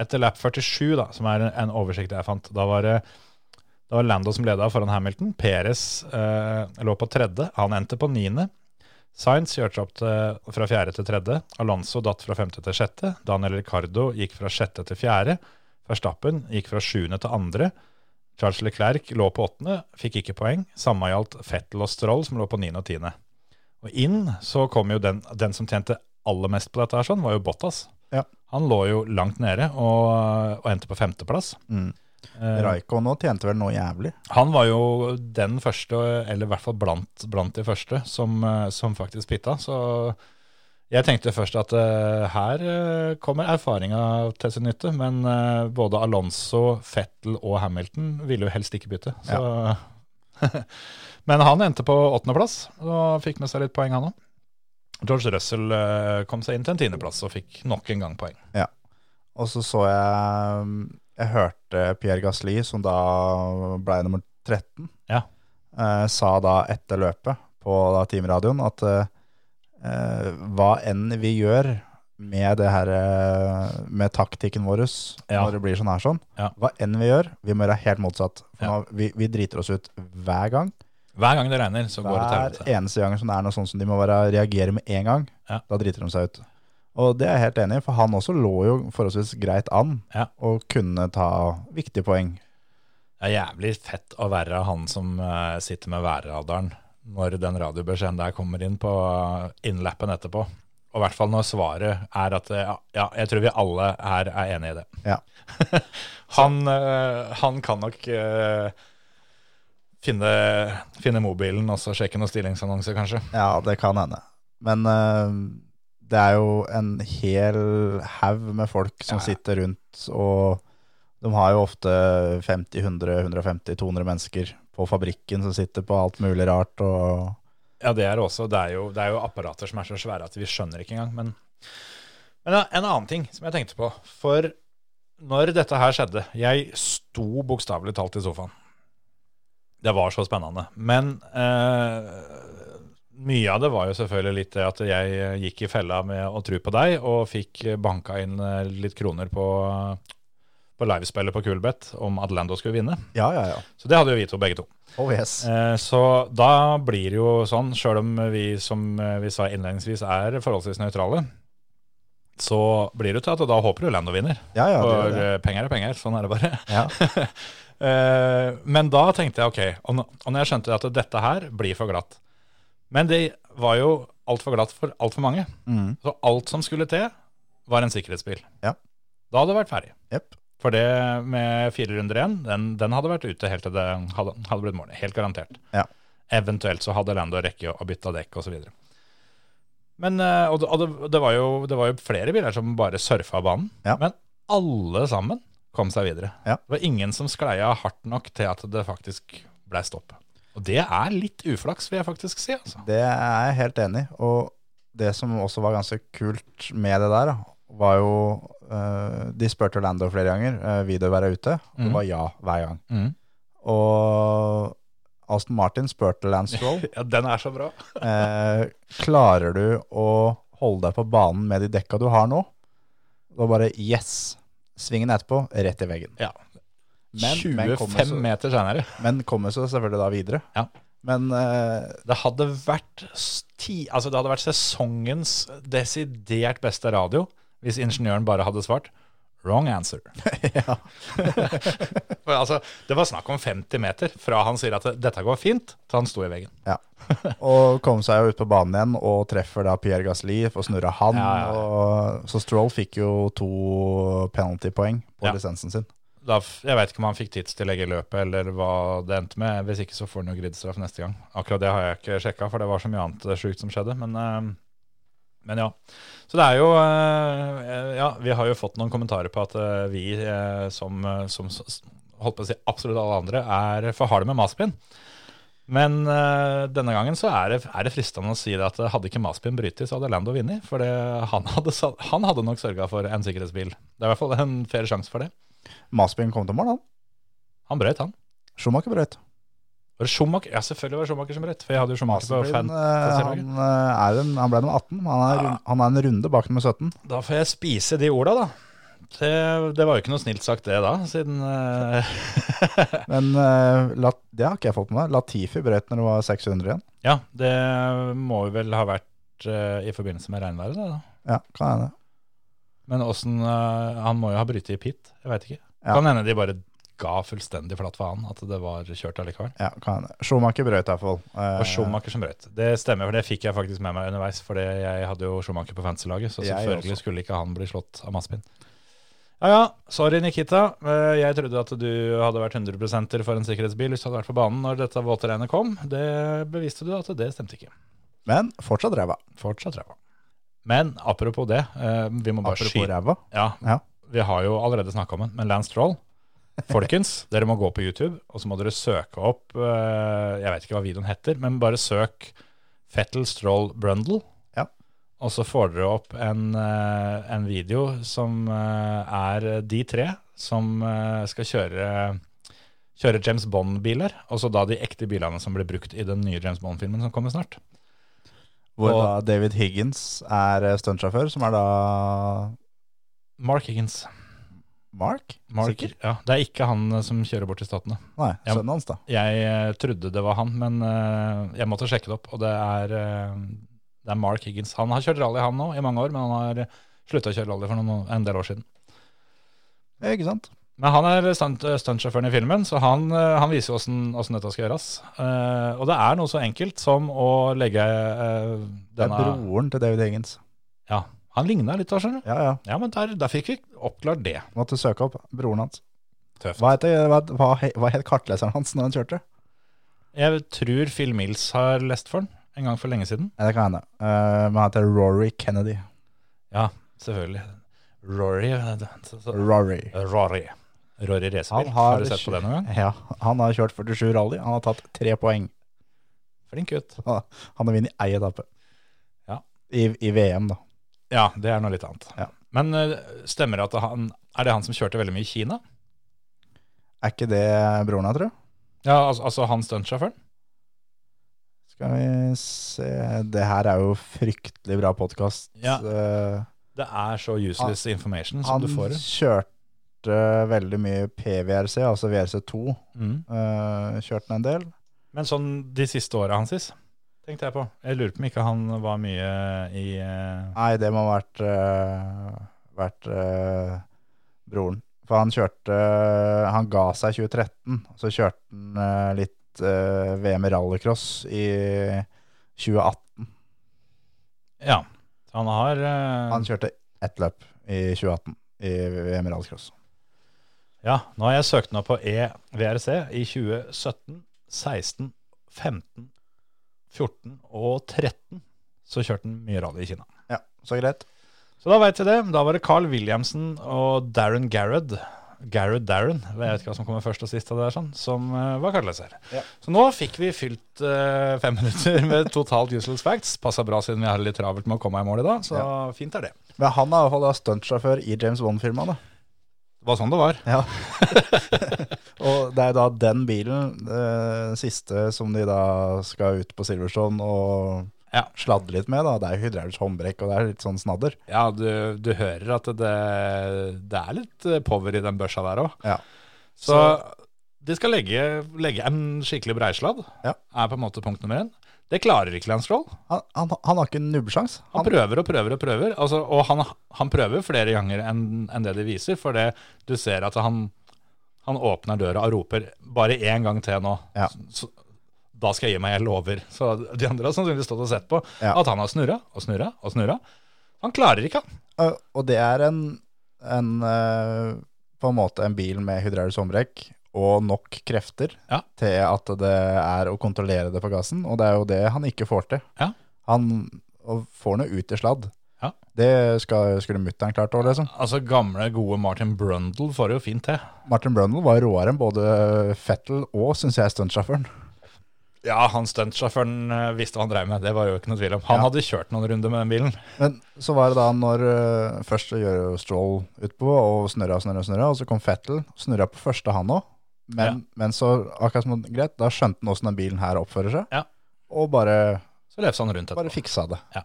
etter lap 47, da, som er en, en oversikt jeg fant, da var det det var Lando som leda foran Hamilton. Perez eh, lå på tredje. Han endte på niende. Sainz kjørte seg opp til, fra fjerde til tredje. Alonso datt fra femte til sjette. Daniel Ricardo gikk fra sjette til fjerde. Verstappen gikk fra sjuende til andre. Charles Leclerc lå på åttende, fikk ikke poeng. Samme gjaldt Fettel og Stroll, som lå på niende og tiende. Og inn så kom jo den, den som tjente aller mest på dette her, sånn, var jo Bottas.
Ja.
Han lå jo langt nede og, og endte på femteplass.
Mm.
Eh,
Raiko nå tjente vel noe jævlig.
han var jo den første, eller i hvert fall blant, blant de første, som, eh, som faktisk pitta. Så jeg tenkte først at eh, her eh, kommer erfaringa til sin nytte, men eh, både Alonso, Fettel og Hamilton ville jo helst ikke bytte. Så. (laughs) men han endte på åttendeplass og fikk med seg litt poeng, han òg. George Russell eh, kom seg inn til en tiendeplass og fikk nok en gang poeng.
Og så så jeg Jeg hørte Pierre Gasli, som da ble nummer 13,
Ja.
eh, sa da etter løpet på da teamradioen at eh, eh, hva enn vi gjør med det her eh, med taktikken vår
Ja.
når det blir sånn her sånn,
Ja.
hva enn vi gjør, vi må gjøre helt motsatt. For
Ja.
nå, vi, vi driter oss ut hver gang.
Hver gang det regner, så går det til
Hver
helvete.
eneste gang som det er noe sånt som de må være, reagere med en gang,
Ja.
da driter de seg ut. Og det er jeg helt enig i, for han også lå jo forholdsvis greit an
Ja.
og kunne ta viktige poeng.
Det er jævlig fett å være han som eh, sitter med værradaren når den radiobeskjeden der kommer inn på eh, innlappen etterpå. Og i hvert fall når svaret er at eh, ja, ja, jeg tror vi alle her er enig i det.
Ja.
(laughs) han, eh, han kan nok eh, finne, finne mobilen og så sjekke noen stillingsannonser, kanskje.
Ja, det kan hende. Men eh, det er jo en hel haug med folk som
Ja, ja.
sitter rundt, og de har jo ofte 50, 100, 150, 200 mennesker på fabrikken som sitter på alt mulig rart. Og
Ja, det er det også. Det er, jo, det er jo apparater som er så svære at vi skjønner ikke engang. Men, men ja, en annen ting som jeg tenkte på. For når dette her skjedde Jeg sto bokstavelig talt i sofaen. Det var så spennende. Men eh, mye av det var jo selvfølgelig litt det at jeg eh, gikk i fella med å tro på deg, og fikk banka inn eh, litt kroner på, på livespillet på Kulbeth om at Lando skulle vinne.
ja, ja, ja.
Så det hadde jo vi to, begge to.
Oh yes.
Eh, Så da blir det jo sånn, sjøl om vi som eh, vi sa innledningsvis er forholdsvis nøytrale, så blir det til at da håper du Lando vinner.
Ja, ja, det,
For
gjør det.
eh, penger er penger, sånn er det bare.
ja.
(laughs) Eh, Men da tenkte jeg ok, og nå- og når jeg skjønte at dette her blir for glatt Men det var jo altfor glatt for altfor mange.
Mm.
Så alt som skulle til, var en sikkerhetsbil.
Ja.
Da hadde det vært ferdig.
Jepp.
For det med fire runder igjen, den, den hadde vært ute helt til det hadde, hadde blitt morgen. Helt garantert.
Ja.
Eventuelt så hadde Lando rekke å bytte dekk osv. Men, eh, og, det- og det, det, var jo, det var jo flere biler som bare surfa banen,
Ja.
men alle sammen kom seg videre.
Ja.
Det var ingen som skleia hardt nok til at det faktisk blei stopp. Og det er litt uflaks, vil jeg faktisk si. altså.
Det er jeg helt enig i. Og det som også var ganske kult med det der, da, var jo eh, De spurte Lando flere ganger uh, vil du være ute. Og
Mhm.
det var ja hver gang.
Mhm.
Og Aston Martin spurte Lance Stroll
Ja, Den er så bra.
eh, klarer du å holde deg på banen med de dekka du har nå. Og bare yes! Svingen etterpå, rett i veggen.
Ja.
Men, men, kommer
25
så,
meter seinere.
men kommer så selvfølgelig da videre.
Ja.
Men eh,
Det hadde vært sti, altså det hadde vært sesongens desidert beste radio hvis ingeniøren bare hadde svart wrong answer.
ja.
(laughs) For altså, det var snakk om 50 meter fra han sier at dette går fint, til han sto i veggen.
Ja. Og kom seg jo ut på banen igjen og treffer da Pierre Gasli og snurrer han.
Ja, ja, ja.
Og, så Stroll fikk jo to penaltypoeng på
Ja.
lisensen sin.
Da, f- jeg veit ikke om han fikk tidstillegg i løpet, eller hva det endte med. Hvis ikke så får han jo gridstraff neste gang. Akkurat det har jeg ikke sjekka, for det var så mye annet sjukt som skjedde. Men, eh, men ja. Så det er jo eh, Ja, vi har jo fått noen kommentarer på at eh, vi eh, som, eh, som s- holdt på å si absolutt alle andre, er for harde med maspinn. Men eh, denne gangen så er det, er det fristende å si det at eh, hadde ikke Maspin brytet, så hadde Lando vunnet. For det, han, hadde, sa- han hadde nok sørga for en sikkerhetsbil. Det er i hvert fall en fair sjanse for det.
Maspin kom til mål, han.
Han brøt, han.
Schumacher brøt.
Var det Schumacher? Ja, selvfølgelig var det Schumacher som rødt. For jeg hadde jo Schumacher på
Maspin,
fan.
eh, han, eh, er en, han ble nummer 18. men Han er, rund- han er en runde bak nummer 17.
Da får jeg spise de orda, da. Det, det var jo ikke noe snilt sagt, det da, siden eh, (laughs)
Men eh, Lat, det har ikke jeg fått med meg. Latifi brøt når det var 600 igjen.
Ja, det må jo vel ha vært eh, i forbindelse med regnværet, det da.
Ja, kan hende.
Men åssen eh, Han må jo ha brytet i pit, jeg veit ikke.
Ja.
Kan hende de bare ga fullstendig flatt faen at det var kjørt allikevel.
Ja, kan hende. Schumacher brøt iallfall.
Og Schumacher som brøt. Det stemmer, for det fikk jeg faktisk med meg underveis. For det- jeg hadde jo Schumacher på fantasy-laget, så
Jeg
selvfølgelig
også.
skulle ikke han bli slått av masspinn. Ja ja, sorry Nikita. Eh, Jeg trodde at du hadde vært 100 for en sikkerhetsbil hvis du hadde vært på banen når dette våtregnet kom. Det beviste du at det stemte ikke.
Men fortsatt ræva.
Fortsatt ræva. Men apropos det, eh, vi må bare
Apropos
skyte
ræva.
ja,
Ja.
Vi har jo allerede snakka om den, men Lance Troll
(laughs)
Folkens, dere må gå på YouTube, og så må dere søke opp eh, Jeg vet ikke hva videoen heter, men bare søk Fettel Stroll Brundle.
Ja.
Og så får dere opp en, eh, en video som eh, er de tre som eh, skal kjøre Kjøre James Bond-biler, altså da de ekte bilene som ble brukt i den nye James Bond-filmen som kommer snart.
Hvor
Og-
da David Higgins er eh, stuntsjåfør, som er da
Mark Higgins.
Mark?
Mark,
Sikker?
ja, det er ikke han eh, som kjører bort til Statene.
Nei,
Ja.
sønnen hans, da.
Jeg eh, trodde det var han, men eh, jeg måtte sjekke det opp. Og det er, eh, det er Mark Higgins. Han har kjørt rally han nå i mange år, men han har slutta å kjøre rally for noen, en del år siden.
Ja, Ikke sant?
Men han er stunt- eh, stuntsjåføren i filmen, så han, eh, han viser åssen dette skal gjøres. Eh, og det er noe så enkelt som å legge eh,
Det er
denne
broren til David Higgins.
Ja, han ligna litt, da, skjønner du.
Ja, ja.
Ja, men der, der fikk vi oppklart det.
Måtte søke opp broren hans.
Tøft.
Hva, heter, hva, hva, he- hva het kartleseren hans når han kjørte?
Jeg tror Phil Mills har lest for den en gang for lenge siden.
Ja, det kan hende. Eh, men han heter Rory Kennedy.
Ja, selvfølgelig. Rory eh, så, så,
Rory.
Rory. Rory Racerbil.
Han
Har,
har,
du sett på det noen gang?
Ja, han har kjørt 47 rally. Han har tatt tre poeng.
Flink gutt.
Han har vunnet ei etappe.
Ja.
I, I VM, da.
Ja, det er noe litt annet.
Ja.
Men eh, stemmer det at han Er det han som kjørte veldig mye i Kina?
Er ikke det broren hans, tror du?
Ja, altså, altså han stuntsjåføren?
Skal vi se Det her er jo fryktelig bra eh, podkast.
Ja. Det er så useless information som
han
du får.
kjørte veldig mye PVRC, altså VRC2.
Mm.
eh, kjørte han en del.
Men sånn de siste åra hans, sis, tenkte jeg på. Jeg lurer på om ikke han var mye i eh,
Nei, det må ha vært, eh, vært eh, broren. For han kjørte Han ga seg i 2013, så kjørte han eh, litt eh, VM i rallycross i 2018.
Ja. Han har eh,
Han kjørte ett løp i 2018 i VM i rallycross.
Ja, nå har jeg søkt nå på E EVRC i 2017, 16, 15, 14 og 13. Så kjørte han mye rally i Kina.
Ja, så greit.
Så da veit jeg det. Da var det Carl Williamson og Darren Garrod. Garrod Darren, jeg vet ikke hva som kommer først og sist av det der, sånn, som eh, var kartleser.
Ja.
Så nå fikk vi fylt eh, fem (laughs) minutter med totalt useless facts. Passa bra siden vi har det litt travelt med å komme i mål i dag, så fint er det.
Men han er i hvert fall da stuntsjåfør i James Bond-firmaet, da.
Det var sånn det var.
Ja. (laughs) og det er da den bilen, eh, siste som de da skal ut på Silverstone og
Ja.
sladde litt med, da. Det er jo hydraulisk håndbrekk, og det er litt sånn snadder.
Ja, du, du hører at det, det er litt eh, power i den børsa der òg.
Ja.
Så, de skal legge, legge en skikkelig breisladd,
Ja.
er på en måte punkt nummer én. Det klarer ikke Lance Roll.
Han, han, han har ikke nubbesjans.
Han prøver og prøver og prøver, altså, og han, han prøver flere ganger enn enn det de viser, for det, du ser at han, han åpner døra og roper 'bare én gang til nå'.
Ja.
Så, da skal jeg gi meg, jeg lover. Så de andre har sannsynligvis stått og sett på
Ja.
at han har snurra og snurra og snurra. Han klarer ikke, han.
Og- eh, Og det er en, en eh, på en måte en bil med hydraulisk håndbrekk og nok krefter
Ja.
til at det er å kontrollere det på gassen, og det er jo det han ikke får til.
Ja.
Han og får noe ut i sladd.
Ja.
Det skal, skulle mutteren klart òg, liksom.
Altså Gamle, gode Martin Brundle får det jo fint til.
Martin Brundle var råere enn både Fettel og, syns jeg, stuntsjåføren.
Ja, han stuntsjåføren eh, visste hva han drev med. Det var jo ikke noe tvil om. Han
Ja.
hadde kjørt noen runder med den bilen.
Men så var det da når eh, Først så gjør jo Stroll utpå og snurra og snurra, og snurra, og så kom Fettel, snurra på første han òg. Men,
Ja.
men så, akkurat som greit, da skjønte han åssen den bilen her oppfører seg,
Ja.
og bare,
Så lefsa han rundt
bare
etterpå.
fiksa det.
Ja.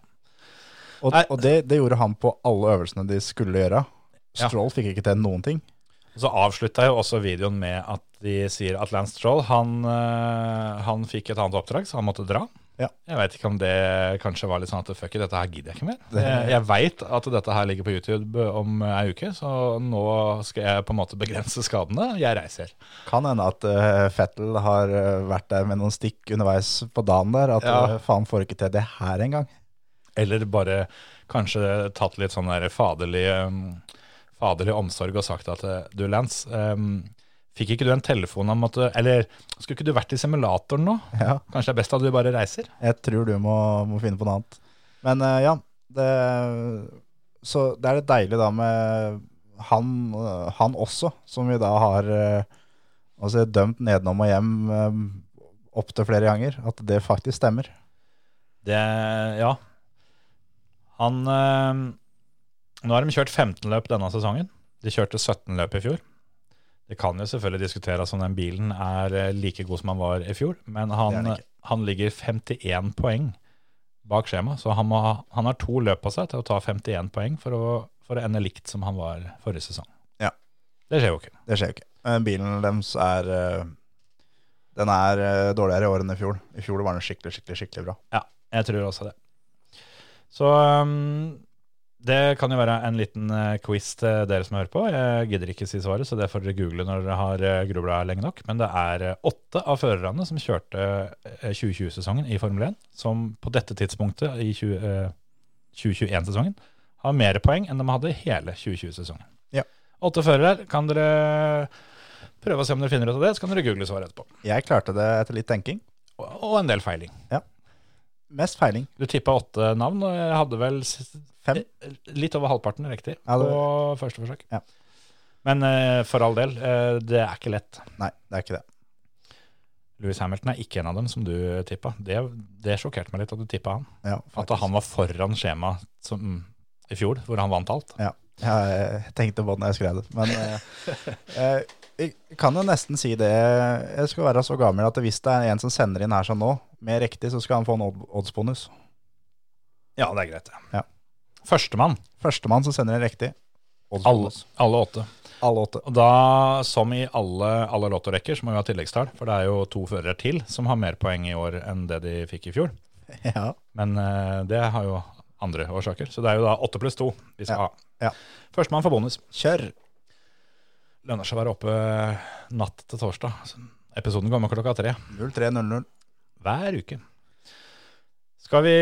Og,
Nei.
og det, det gjorde han på alle øvelsene de skulle gjøre.
Ja.
Stroll fikk ikke til noen ting.
Så avslutta jo også videoen med at de sier at Lance Troll han, eh, han fikk et annet oppdrag, så han måtte dra.
Ja.
Jeg veit ikke om det kanskje var litt sånn at fuck it, dette her gidder jeg ikke mer. Jeg, jeg veit at dette her ligger på YouTube eh, om ei uke, så nå skal jeg på en måte begrense skadene. Jeg reiser.
Kan hende at eh, Fettel har eh, vært der med noen stikk underveis på dagen der. At
Ja.
eh, faen får ikke til det her engang. (laughs)
Eller bare kanskje tatt litt sånn der faderlig, um, faderlig omsorg og sagt at eh, du, Lance, um, fikk ikke du en telefon om at du Eller skulle ikke du vært i simulatoren nå?
Ja.
Kanskje det er best at du bare reiser?
Jeg tror du må, må finne på noe annet. Men eh, ja, det, så det er litt deilig da med han, eh, han også, som vi da har eh, altså, dømt nedenom og hjem eh, opp til flere ganger, at det faktisk stemmer.
Det Ja. Han eh, Nå har de kjørt 15 løp denne sesongen. De kjørte 17 løp i fjor. Det kan jo selvfølgelig diskuteres om den bilen er eh, like god som han var i fjor, men
Det er
han,
den ikke.
han ligger 51 poeng bak skjema, så han, må ha, han har to løp på seg til å ta 51 poeng for å, for å ende likt som han var forrige sesong.
Ja.
Det skjer jo ikke.
Det skjer jo ikke. Eh, Bilen deres er eh, Den er eh, dårligere i år enn i fjor. I fjor var den skikkelig, skikkelig, skikkelig bra.
Ja, jeg tror også det. Så um, det kan jo være en liten eh, quiz til dere som hører på. Jeg gidder ikke si svaret, så det får dere google når dere har eh, grubla lenge nok. Men det er eh, åtte av førerne som kjørte eh, 2020-sesongen i Formel 1, som på dette tidspunktet i 20, eh, 2021-sesongen har mer poeng enn de hadde i hele 2020-sesongen.
Ja.
Åtte førere. Kan dere prøve å se om dere finner ut av det, så kan dere google svaret etterpå.
Jeg klarte det etter litt tenking.
Og, og en del feiling.
Mest feiling.
Du tippa åtte navn, og jeg hadde vel s- eh,
Fem.
Litt over halvparten riktig
Ja, det-
på første forsøk.
Ja.
Men eh, for all del, eh, det er ikke lett.
Nei, det er ikke det.
Louis Hamilton er ikke en av dem som du tippa. Det, det sjokkerte meg litt at du tippa han.
Ja,
At han var foran skjemaet som- mm, i fjor, hvor han vant alt.
Ja, jeg tenkte på det når jeg skrev det. Men eh, eh, jeg kan jo nesten si det. Jeg skal være så gammel at hvis det er en som sender inn her som nå, med riktig, så skal han få en odd- oddsbonus.
Ja, det er greit.
Ja.
Førstemann,
Førstemann som sender inn riktig,
alle,
oddsbonus.
alle åtte.
Alle åtte.
Og da, som i alle, alle lottorekker, så må vi ha tilleggstall. For det er jo to førere til som har mer poeng i år enn det de fikk i fjor.
Ja.
Men eh, det har jo andre årsaker. Så det er jo da åtte pluss to vi skal
Ja,
ha.
ja.
Førstemann får bonus.
Kjør!
Lønner seg å være oppe natt til torsdag. Så Episoden kommer klokka tre
0300.
hver uke. Skal vi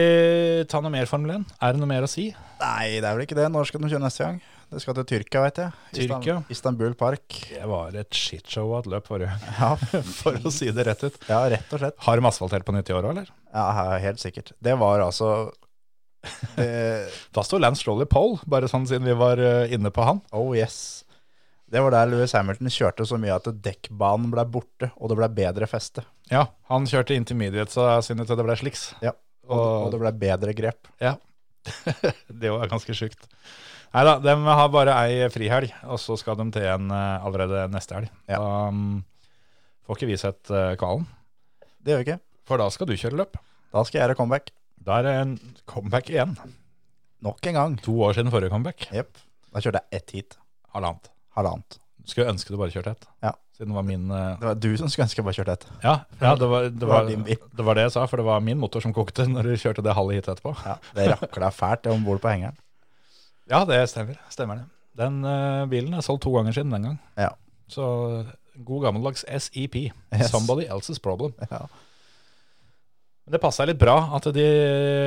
ta noe mer Formel 1? Er det noe mer å si?
Nei, det er vel ikke det. Når skal de kjøre neste gang? Det skal til Tyrkia, veit jeg. Istan-
Tyrkia?
Istanbul Park.
Det var et shitshow av et løp forrige gang,
Ja,
for å si det rett ut.
ja, rett og slett.
Har de asfaltert på nytt i år òg, eller?
Ja, he- helt sikkert. Det var altså eh, det,
Da sto Lance Stroll i pole, bare sånn siden vi var eh, inne på han.
Oh yes. Det var der Lewis Hamilton kjørte så mye at dekkbanen ble borte, og det ble bedre feste.
Ja, han kjørte intermediates og syntes det ble sliks.
Ja. Og, og det ble bedre grep.
Ja. det var ganske sjukt. Nei da, de har bare ei frihelg, og så skal de til en eh, allerede neste helg.
Ja.
Da mm, får ikke vi sett eh, kvalen,
Det gjør vi ikke.
for da skal du kjøre løp.
Da skal jeg gjøre comeback.
Da er det en comeback igjen.
Nok en gang.
To år siden forrige comeback.
Jepp. Da kjørte jeg ett heat.
Halvannet.
Halvannet.
Skulle ønske du bare kjørte ett,
Ja.
siden det var min eh,
Det var du som skulle ønske jeg bare kjørte ett.
Ja, ja det, var, det,
var
var,
din bil.
det var det jeg sa, for det var min motor som kokte (laughs) når du kjørte det halve hit etterpå.
Ja, (laughs) det rakla fælt om bord på hengeren.
Ja, det stemmer. Stemmer det. Den eh, bilen er solgt to ganger siden den gang.
Ja.
Så god gammeldags SEP.
Yes.
Somebody else's problem.
ja.
Men det passer litt bra at de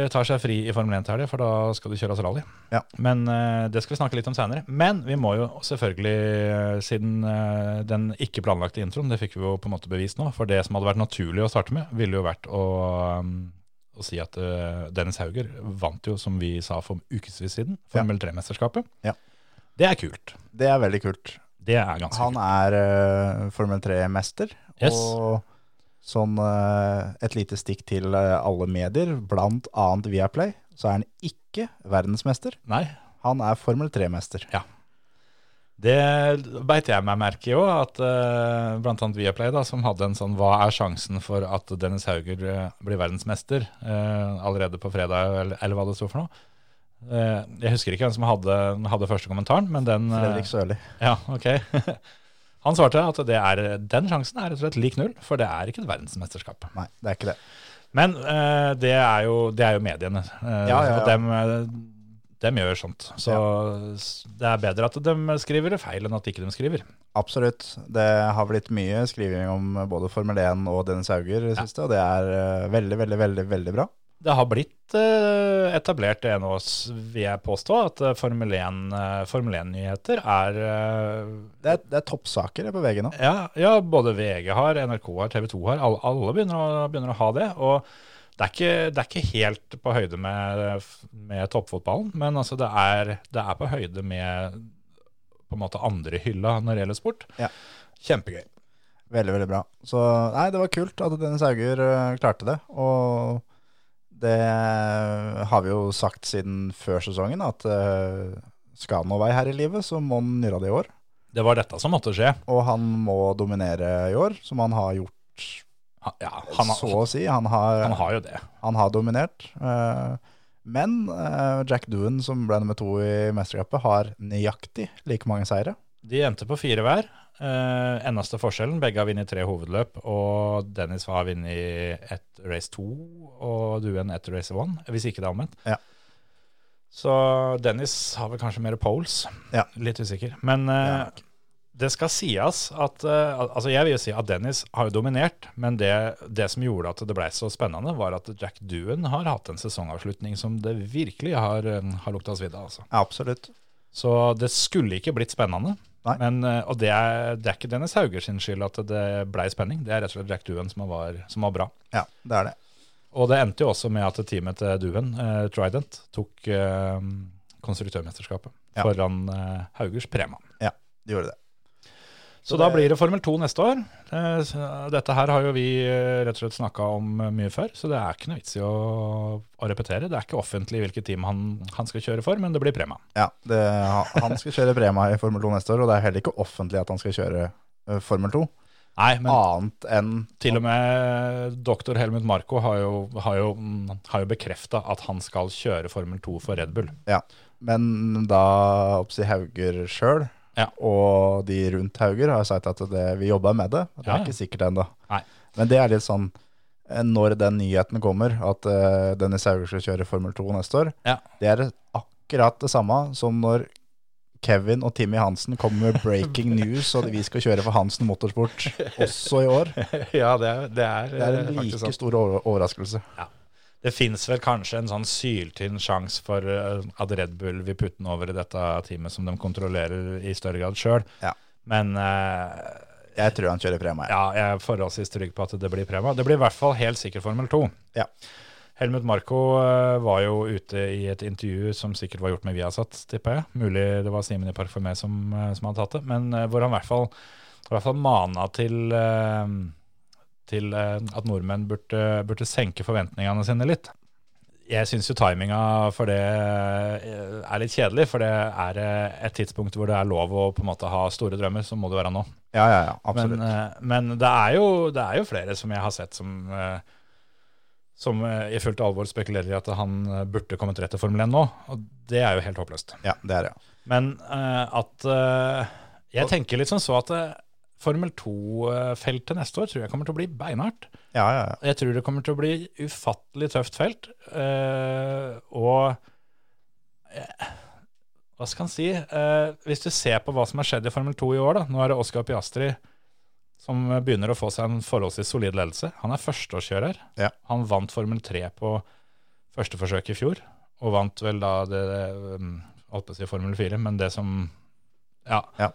tar seg fri i Formel 1-helga, for da skal de kjøres rally.
Ja.
Men eh, det skal vi snakke litt om senere. Men vi må jo selvfølgelig, eh, siden eh, den ikke planlagte introen, det fikk vi jo på en måte bevist nå, for det som hadde vært naturlig å starte med, ville jo vært å, um, å si at eh, Dennis Hauger vant jo, som vi sa for ukevis siden, Formel 3-mesterskapet.
Ja.
Det er kult.
Det er veldig kult.
Det er ganske
Han
kult.
er eh, Formel 3-mester.
Yes.
Og sånn eh, et lite stikk til eh, alle medier, blant annet Viaplay, så er han ikke verdensmester.
Nei,
Han er Formel 3-mester.
Det beit jeg meg merke i òg, at eh, blant annet Viaplay, da, som hadde en sånn Hva er sjansen for at Dennis Hauger eh, blir verdensmester eh, allerede på fredag, eller, eller hva det sto for noe? Eh, jeg husker ikke hvem som hadde, hadde første kommentaren, men den eh,
Fredrik Sørli.
Ja, ok. (laughs) Han svarte at det er, den sjansen er rett og slett lik null, for det er ikke et verdensmesterskap.
Nei, det er ikke det.
Men eh, det, er jo, det er jo mediene, eh,
Ja, ja, ja.
og dem, eh, dem gjør sånt. Så s- det er bedre at de skriver det feil enn at ikke de skriver.
Absolutt. Det har blitt mye skriving om både Formel 1 og Dennis Hauger i det siste, og det er eh, veldig, veldig, veldig veldig bra.
Det har blitt eh, etablert det nå, s- vil jeg påstå, at eh, Formel 1, eh, Formel 1-nyheter er eh,
Det er, det er toppsaker det på VG nå.
ja, ja, både VG har, NRK har, TV 2 har. Alle, alle begynner, å, begynner å ha det. Og det er ikke, det er ikke helt på høyde med, med toppfotballen, men altså det, er, det er på høyde med på en måte andre hylla når det gjelder sport.
Ja.
Kjempegøy.
Veldig, veldig bra. Så nei, det var kult at Dennis Hauger eh, klarte det. Og det har vi jo sagt siden før sesongen, at eh, skal han noe vei her i livet, så må han gjøre det i år.
Det var dette som måtte skje.
Og han må dominere i år, som han har gjort,
Han, ja, han,
så
har,
å si. Han har,
han har jo det.
Han har dominert. eh, Men eh, Jack Doohan, som ble nummer to i mesterskapet, har nøyaktig like mange seire.
De endte på fire hver. Eh, eneste forskjellen, begge har vunnet tre hovedløp, og Dennis har vunnet ett race to, og Duen ett race one, hvis ikke det er omvendt.
Ja.
Så Dennis har vel kanskje mer poles.
Ja.
Litt usikker. Men eh,
Ja.
det skal sies at eh, al- Altså, jeg vil jo si at Dennis har jo dominert, men det, det som gjorde at det ble så spennende, var at Jack Duen har hatt en sesongavslutning som det virkelig har, eh, har lukta svidd av, altså.
Ja, absolutt.
Så det skulle ikke blitt spennende.
Nei.
Men, eh, og det er, det er ikke Dennis Hauger sin skyld at det blei spenning. Det er rett og slett Jack Duen som var, som var bra.
Ja, det er det.
Og det endte jo også med at teamet til Duen, eh, Trident, tok eh, konstruktørmesterskapet
Ja.
foran eh, Haugers Prema.
Ja, det gjorde det.
Så,
Så
da
det-
blir det Formel 2 neste år. Eh, så Dette her har jo vi eh, rett og slett snakka om eh, mye før, så det er ikke noe vits i å, å repetere. Det er ikke offentlig hvilket team han, han skal kjøre for, men det blir Prema.
Ja, det, Han skal kjøre Brema i Formel 2 neste år, og det er heller ikke offentlig at han skal kjøre eh, Formel 2.
Nei, men
Annet enn
Til og med doktor Helmut Marko har jo, har jo, har jo bekrefta at han skal kjøre Formel 2 for Red Bull.
Ja, men da oppsi Hauger sjøl
Ja.
og de rundt Hauger har sagt at det, vi jobber med det. Det er
Ja, ja.
ikke sikkert ennå.
Nei.
Men det er litt sånn eh, når den nyheten kommer, at eh, Dennis Hauger skal kjøre Formel 2 neste år,
Ja.
det er akkurat det samme som når Kevin og Timmy Hansen kommer med
(laughs)
breaking news og vi skal kjøre for Hansen Motorsport også i år.
(laughs) ja, det er, det er, eh,
Det er en
faktisk
like
sant.
stor over- overraskelse.
Det fins vel kanskje en sånn syltynn sjanse for eh, at Red Bull vil putte den over i dette teamet som de kontrollerer i større grad sjøl.
Ja.
Men eh,
Jeg tror han kjører Prema.
ja, jeg er forholdsvis trygg på at det blir Prema. Det blir i hvert fall helt sikkert Formel 2.
Ja.
Helmut Marko eh, var jo ute i et intervju som sikkert var gjort med Viasat, tipper jeg. Mulig det var Simen i Park for meg som, eh, som hadde tatt det. Men eh, hvor han i hvert fall, i hvert fall mana til, eh, til eh, at nordmenn burde, burde senke forventningene sine litt. Jeg syns jo timinga for det eh, er litt kjedelig, for det er eh, et tidspunkt hvor det er lov å på en måte ha store drømmer, så må det være nå.
Ja, ja, ja, absolutt.
Men, eh, men det, er jo, det er jo flere som jeg har sett som, eh, som eh, i fullt alvor spekulerer i at han eh, burde kommet rett til Formel 1 nå. Og det er jo helt håpløst.
ja, det er det.
Men eh, at eh, Jeg tenker litt sånn så at eh, Formel 2-feltet neste år tror jeg kommer til å bli beinhardt.
Ja, ja, ja.
Jeg tror det kommer til å bli ufattelig tøft felt. eh, og eh, hva skal en si? Eh, hvis du ser på hva som har skjedd i Formel 2 i år, da. Nå er det Oscar Piastri som begynner å få seg en forholdsvis solid ledelse. Han er førsteårskjører.
Ja.
Han vant Formel 3 på første forsøk i fjor, og vant vel da det, det um, holdt på å si Formel 4, men det som Ja.
Ja.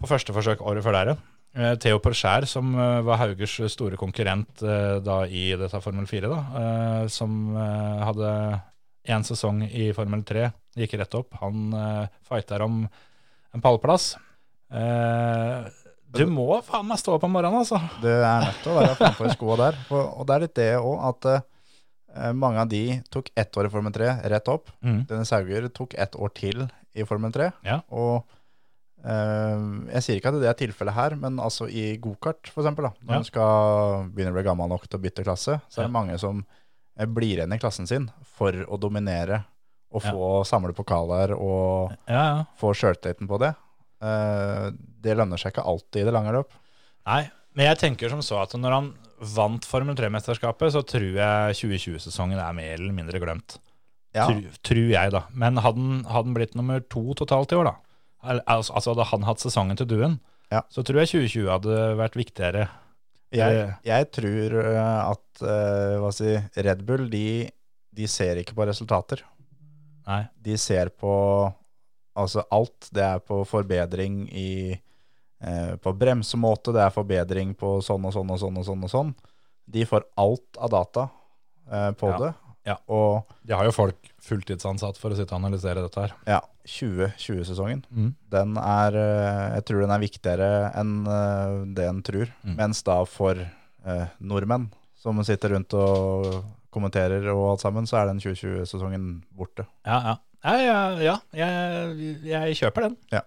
På første forsøk året før der igjen. Eh, Theo Porcher, som eh, var Haugers store konkurrent eh, da i dette Formel 4, da, eh, som eh, hadde én sesong i Formel 3, gikk rett opp. Han eh, fighter om en pallplass. Eh, du må faen meg stå opp om morgenen, altså.
Du er nødt til å være frampå i skoa der. For, og det er litt det òg, at eh, mange av de tok ett år i Formel 3 rett opp.
Mm.
Dennis Hauger tok ett år til i Formel 3.
Ja.
Og eh, jeg sier ikke at det er tilfellet her, men altså i gokart, for eksempel, da, når
Ja.
du skal begynne å bli gammel nok til å bytte klasse, så er det
Ja.
mange som eh, blir igjen i klassen sin for å dominere og
Ja.
få samle pokaler og
Ja, ja.
få sjøltilliten på det. Eh, det lønner seg ikke alltid i det lange løp.
Nei, men jeg tenker som så at når han vant Formel 3-mesterskapet, så tror jeg 2020-sesongen er mer eller mindre glemt.
Ja,
Tror, tror jeg, da. Men hadde han- hadde han blitt nummer to totalt i år, da, al- altså altså hadde han hatt sesongen til duen,
Ja.
så tror jeg 2020 hadde vært viktigere.
jeg, jeg tror eh, at eh, hva si, Red Bull de, de ser ikke på resultater.
Nei.
De ser på altså alt. Det er på forbedring i eh, på bremsemåte, det er forbedring på sånn og sånn og sånn og sånn. og sånn. De får alt av data eh, på
Ja.
det.
Ja.
Og
De har jo folk fulltidsansatt for å sitte og analysere dette her.
Ja, 2020-sesongen.
Mm.
Den er eh, Jeg tror den er viktigere enn eh, det en tror.
Mm.
Mens da for eh, nordmenn som sitter rundt og kommenterer og alt sammen, så er den 2020-sesongen borte.
Ja, ja. Ja, ja, ja jeg, jeg kjøper den.
Ja.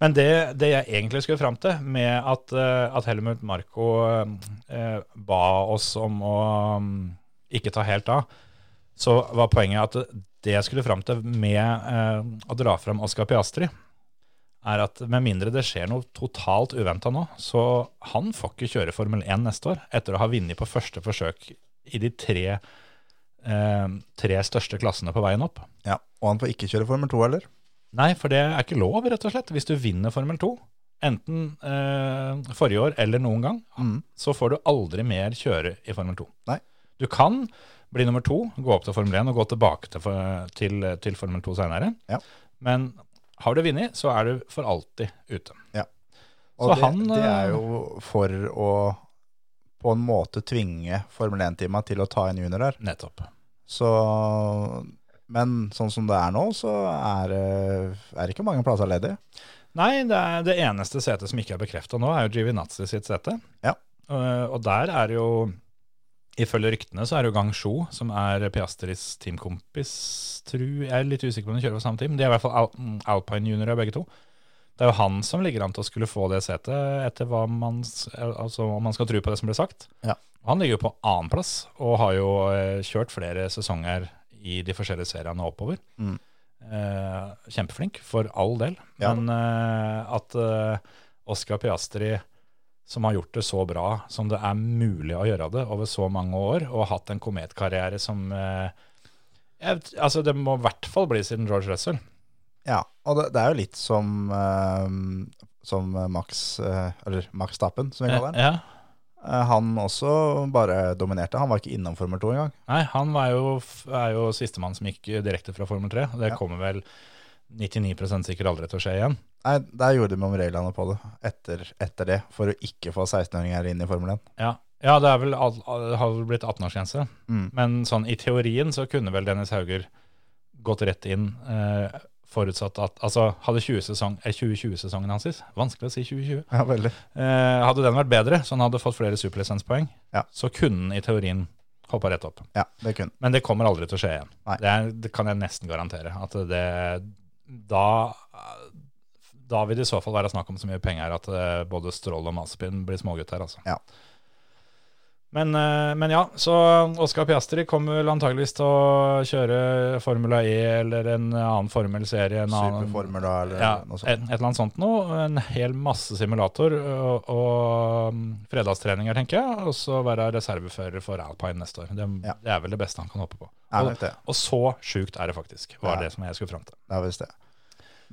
Men det, det jeg egentlig skulle fram til, med at, eh, at Helmut Marko eh, ba oss om å mm, ikke ta helt av, så var poenget at det jeg skulle fram til med eh, å dra fram Oscar Piastri, er at med mindre det skjer noe totalt uventa nå, så han får ikke kjøre Formel 1 neste år, etter å ha vunnet på første forsøk i de tre, eh, tre største klassene på veien opp.
Ja, Og han får ikke kjøre Formel 2 heller.
Nei, for det er ikke lov, rett og slett. Hvis du vinner Formel 2, enten eh, forrige år eller noen gang,
Mm.
så får du aldri mer kjøre i Formel 2.
Nei.
Du kan bli nummer to, gå opp til Formel 1 og gå tilbake til, for- til, til Formel 2 senere.
Ja.
Men har du vunnet, så er du for alltid ute.
Og
Så
det,
han,
det
eh,
er jo for å på en måte tvinge Formel 1-teama til å ta en junior her.
Nettopp.
Så Men sånn som det er nå, så er, det- er det ikke mange plasser ledige.
Nei, det, er det eneste setet som ikke er bekrefta nå, er jo Givinazzi sitt sete.
Ja.
Eh, og der er jo, ifølge ryktene, så er det jo Gang Sho, som er Piastris teamkompis, tror jeg. er litt usikker på om de kjører på samme team. De er i hvert fall al mm, Alpine juniorer, begge to. Det er jo han som ligger an til å skulle få det setet, etter hva man, s- eh, altså, om man skal tro på det som ble sagt.
Ja.
Han ligger jo på annenplass, og har jo eh, kjørt flere sesonger i de forskjellige seriene oppover.
Mm.
Eh, kjempeflink, for all del.
Ja.
Men eh, at eh, Oscar Piastri, som har gjort det så bra som det er mulig å gjøre det over så mange år, og har hatt en kometkarriere som eh, jeg, vet- Altså, det må i hvert fall bli siden George Russell.
Ja, og det, det er jo litt som, eh, som Max, eh, eller Max Stappen, som vi
Ja,
kaller han. Eh, han også bare dominerte. Han var ikke innom Formel 2 engang.
Nei, han var jo, f- er jo sistemann som gikk direkte fra Formel 3. og Det
Ja.
kommer vel 99 sikkert aldri til å skje igjen.
Nei, Der gjorde de om reglene på det etter, etter det, for å ikke få 16-åringer inn i Formel 1.
Ja, ja det er vel, all- all- det har vel blitt 18-årsgrense.
Mm.
Men sånn, i teorien så kunne vel Dennis Hauger gått rett inn, eh, forutsatt at Altså, hadde 20-sesong- eh, 2020-sesongen hans sist Vanskelig å si 2020.
Ja, veldig.
Eh, hadde den vært bedre, så han hadde fått flere superlisenspoeng,
Ja.
så kunne han i teorien hoppa rett opp.
Ja, det kunne
Men det kommer aldri til å skje igjen.
Nei.
Det, er, det kan jeg nesten garantere. At det, da, da vil det i så fall være snakk om så mye penger at eh, både Strål og Maspin blir smågutter. Altså.
Ja.
Men, eh, men ja, så Oskar Piastri kommer vel antageligvis til å kjøre Formula E eller en annen formelserie. en annen-
Superformer, da, eller
ja,
noe
et, et
sånt.
eller annet sånt nå. En hel masse simulator og, og mm, fredagstreninger, tenker jeg. Og så være reservefører for Alpine neste år. Det,
Ja.
det er vel det beste han kan håpe på.
Er
Og,
nok det.
og så sjukt er det faktisk, var
Ja.
det som jeg skulle fram til.
Det er visst det.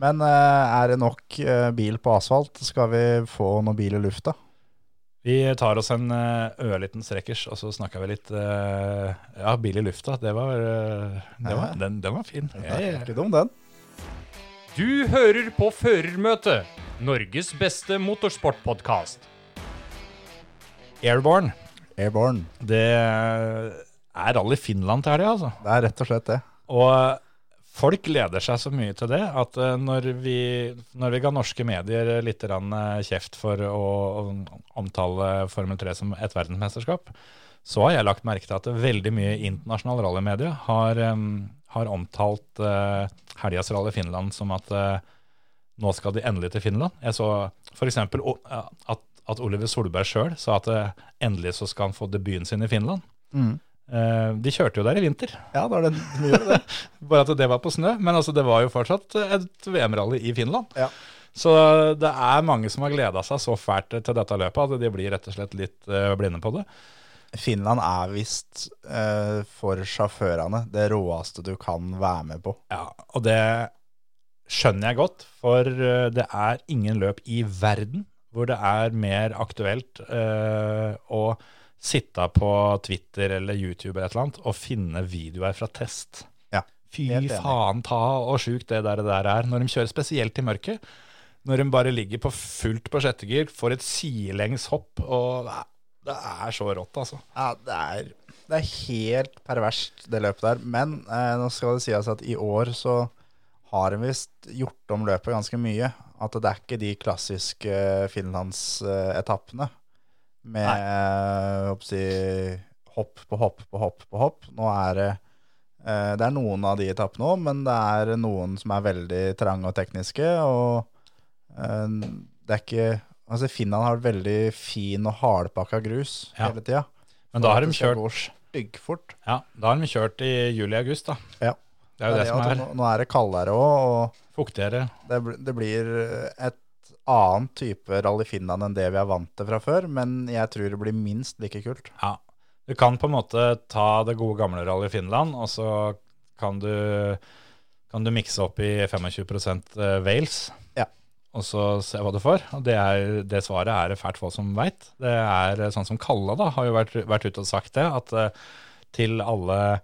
Men eh, er det nok eh, bil på asfalt? Skal vi få noen bil i lufta?
Vi tar oss en eh, ørliten strekkers, og så snakker vi litt eh, Ja, bil i lufta, det var, eh, det var
Ja.
den, den var fin. Eh,
Det
Ja,
er
ja.
ikke dum, den.
Du hører på Førermøtet, Norges beste motorsportpodkast.
Airborne.
Airborne.
Det er Rally Finland til helga, altså.
Det er rett og slett det.
Og folk gleder seg så mye til det at eh, når vi, når vi ga norske medier litt grann, eh, kjeft for å å omtale Formel 3 som et verdensmesterskap, så har jeg lagt merke til at veldig mye internasjonale rallymedier har, eh, har omtalt uh, helgas rally Finland som at eh, nå skal de endelig til Finland. Jeg så f.eks. at, at Oliver Solberg sjøl sa at eh, endelig så skal han få debuten sin i Finland.
Mm.
Eh, de kjørte jo der i vinter.
Ja, da er det mye det.
Bare at det var på snø, men altså det var jo fortsatt et VM-rally i Finland.
Ja.
Så det er mange som har gleda seg så fælt til dette løpet at de blir rett og slett litt eh, blinde på det.
Finland er visst eh, for sjåførene det råeste du kan være med på.
Ja, og det skjønner jeg godt, for eh, det er ingen løp i verden hvor det er mer aktuelt eh, å sitte på Twitter eller YouTube eller et eller annet og finne videoer fra test.
Ja,
Fy
helt enig.
faen ta og sjukt det der, det der er. Når de kjører spesielt i mørket, når de bare ligger på fullt på sjette gir, får et sidelengs hopp, og det er, det er så rått, altså.
Ja, det er, det er helt perverst, det løpet der. Men eh, nå skal det sies at i år så har de visst gjort om løpet ganske mye. At det er ikke de klassiske finlandsetappene med eh, hva skal jeg si, hopp på hopp på hopp på hopp. Nå er det eh, Det er noen av de etappene òg, men det er noen som er veldig trange og tekniske. og Eh, Det er ikke Altså, Finland har veldig fin og hardpakka grus
Ja.
hele tida.
Men da har de
skal
kjørt-
gå styggfort.
Ja, da har de kjørt i juli-august, da.
Ja.
Det er jo det,
Det er
som
at
er
Nå, nå er det kaldere òg,
fuktigere.
og det, bl- det blir eh, et annet type rally Finland enn det vi er vant til fra før, men jeg tror det blir minst like kult.
Ja. Du kan på en måte ta det gode gamle rally Finland, og så kan du, kan du mikse opp i 25 Wales,
Ja.
og så se hva du får. Og det, er, det svaret er det fælt få som veit. Det er sånn som Kalle da, har jo vært, vært ute og sagt det, at eh, til alle,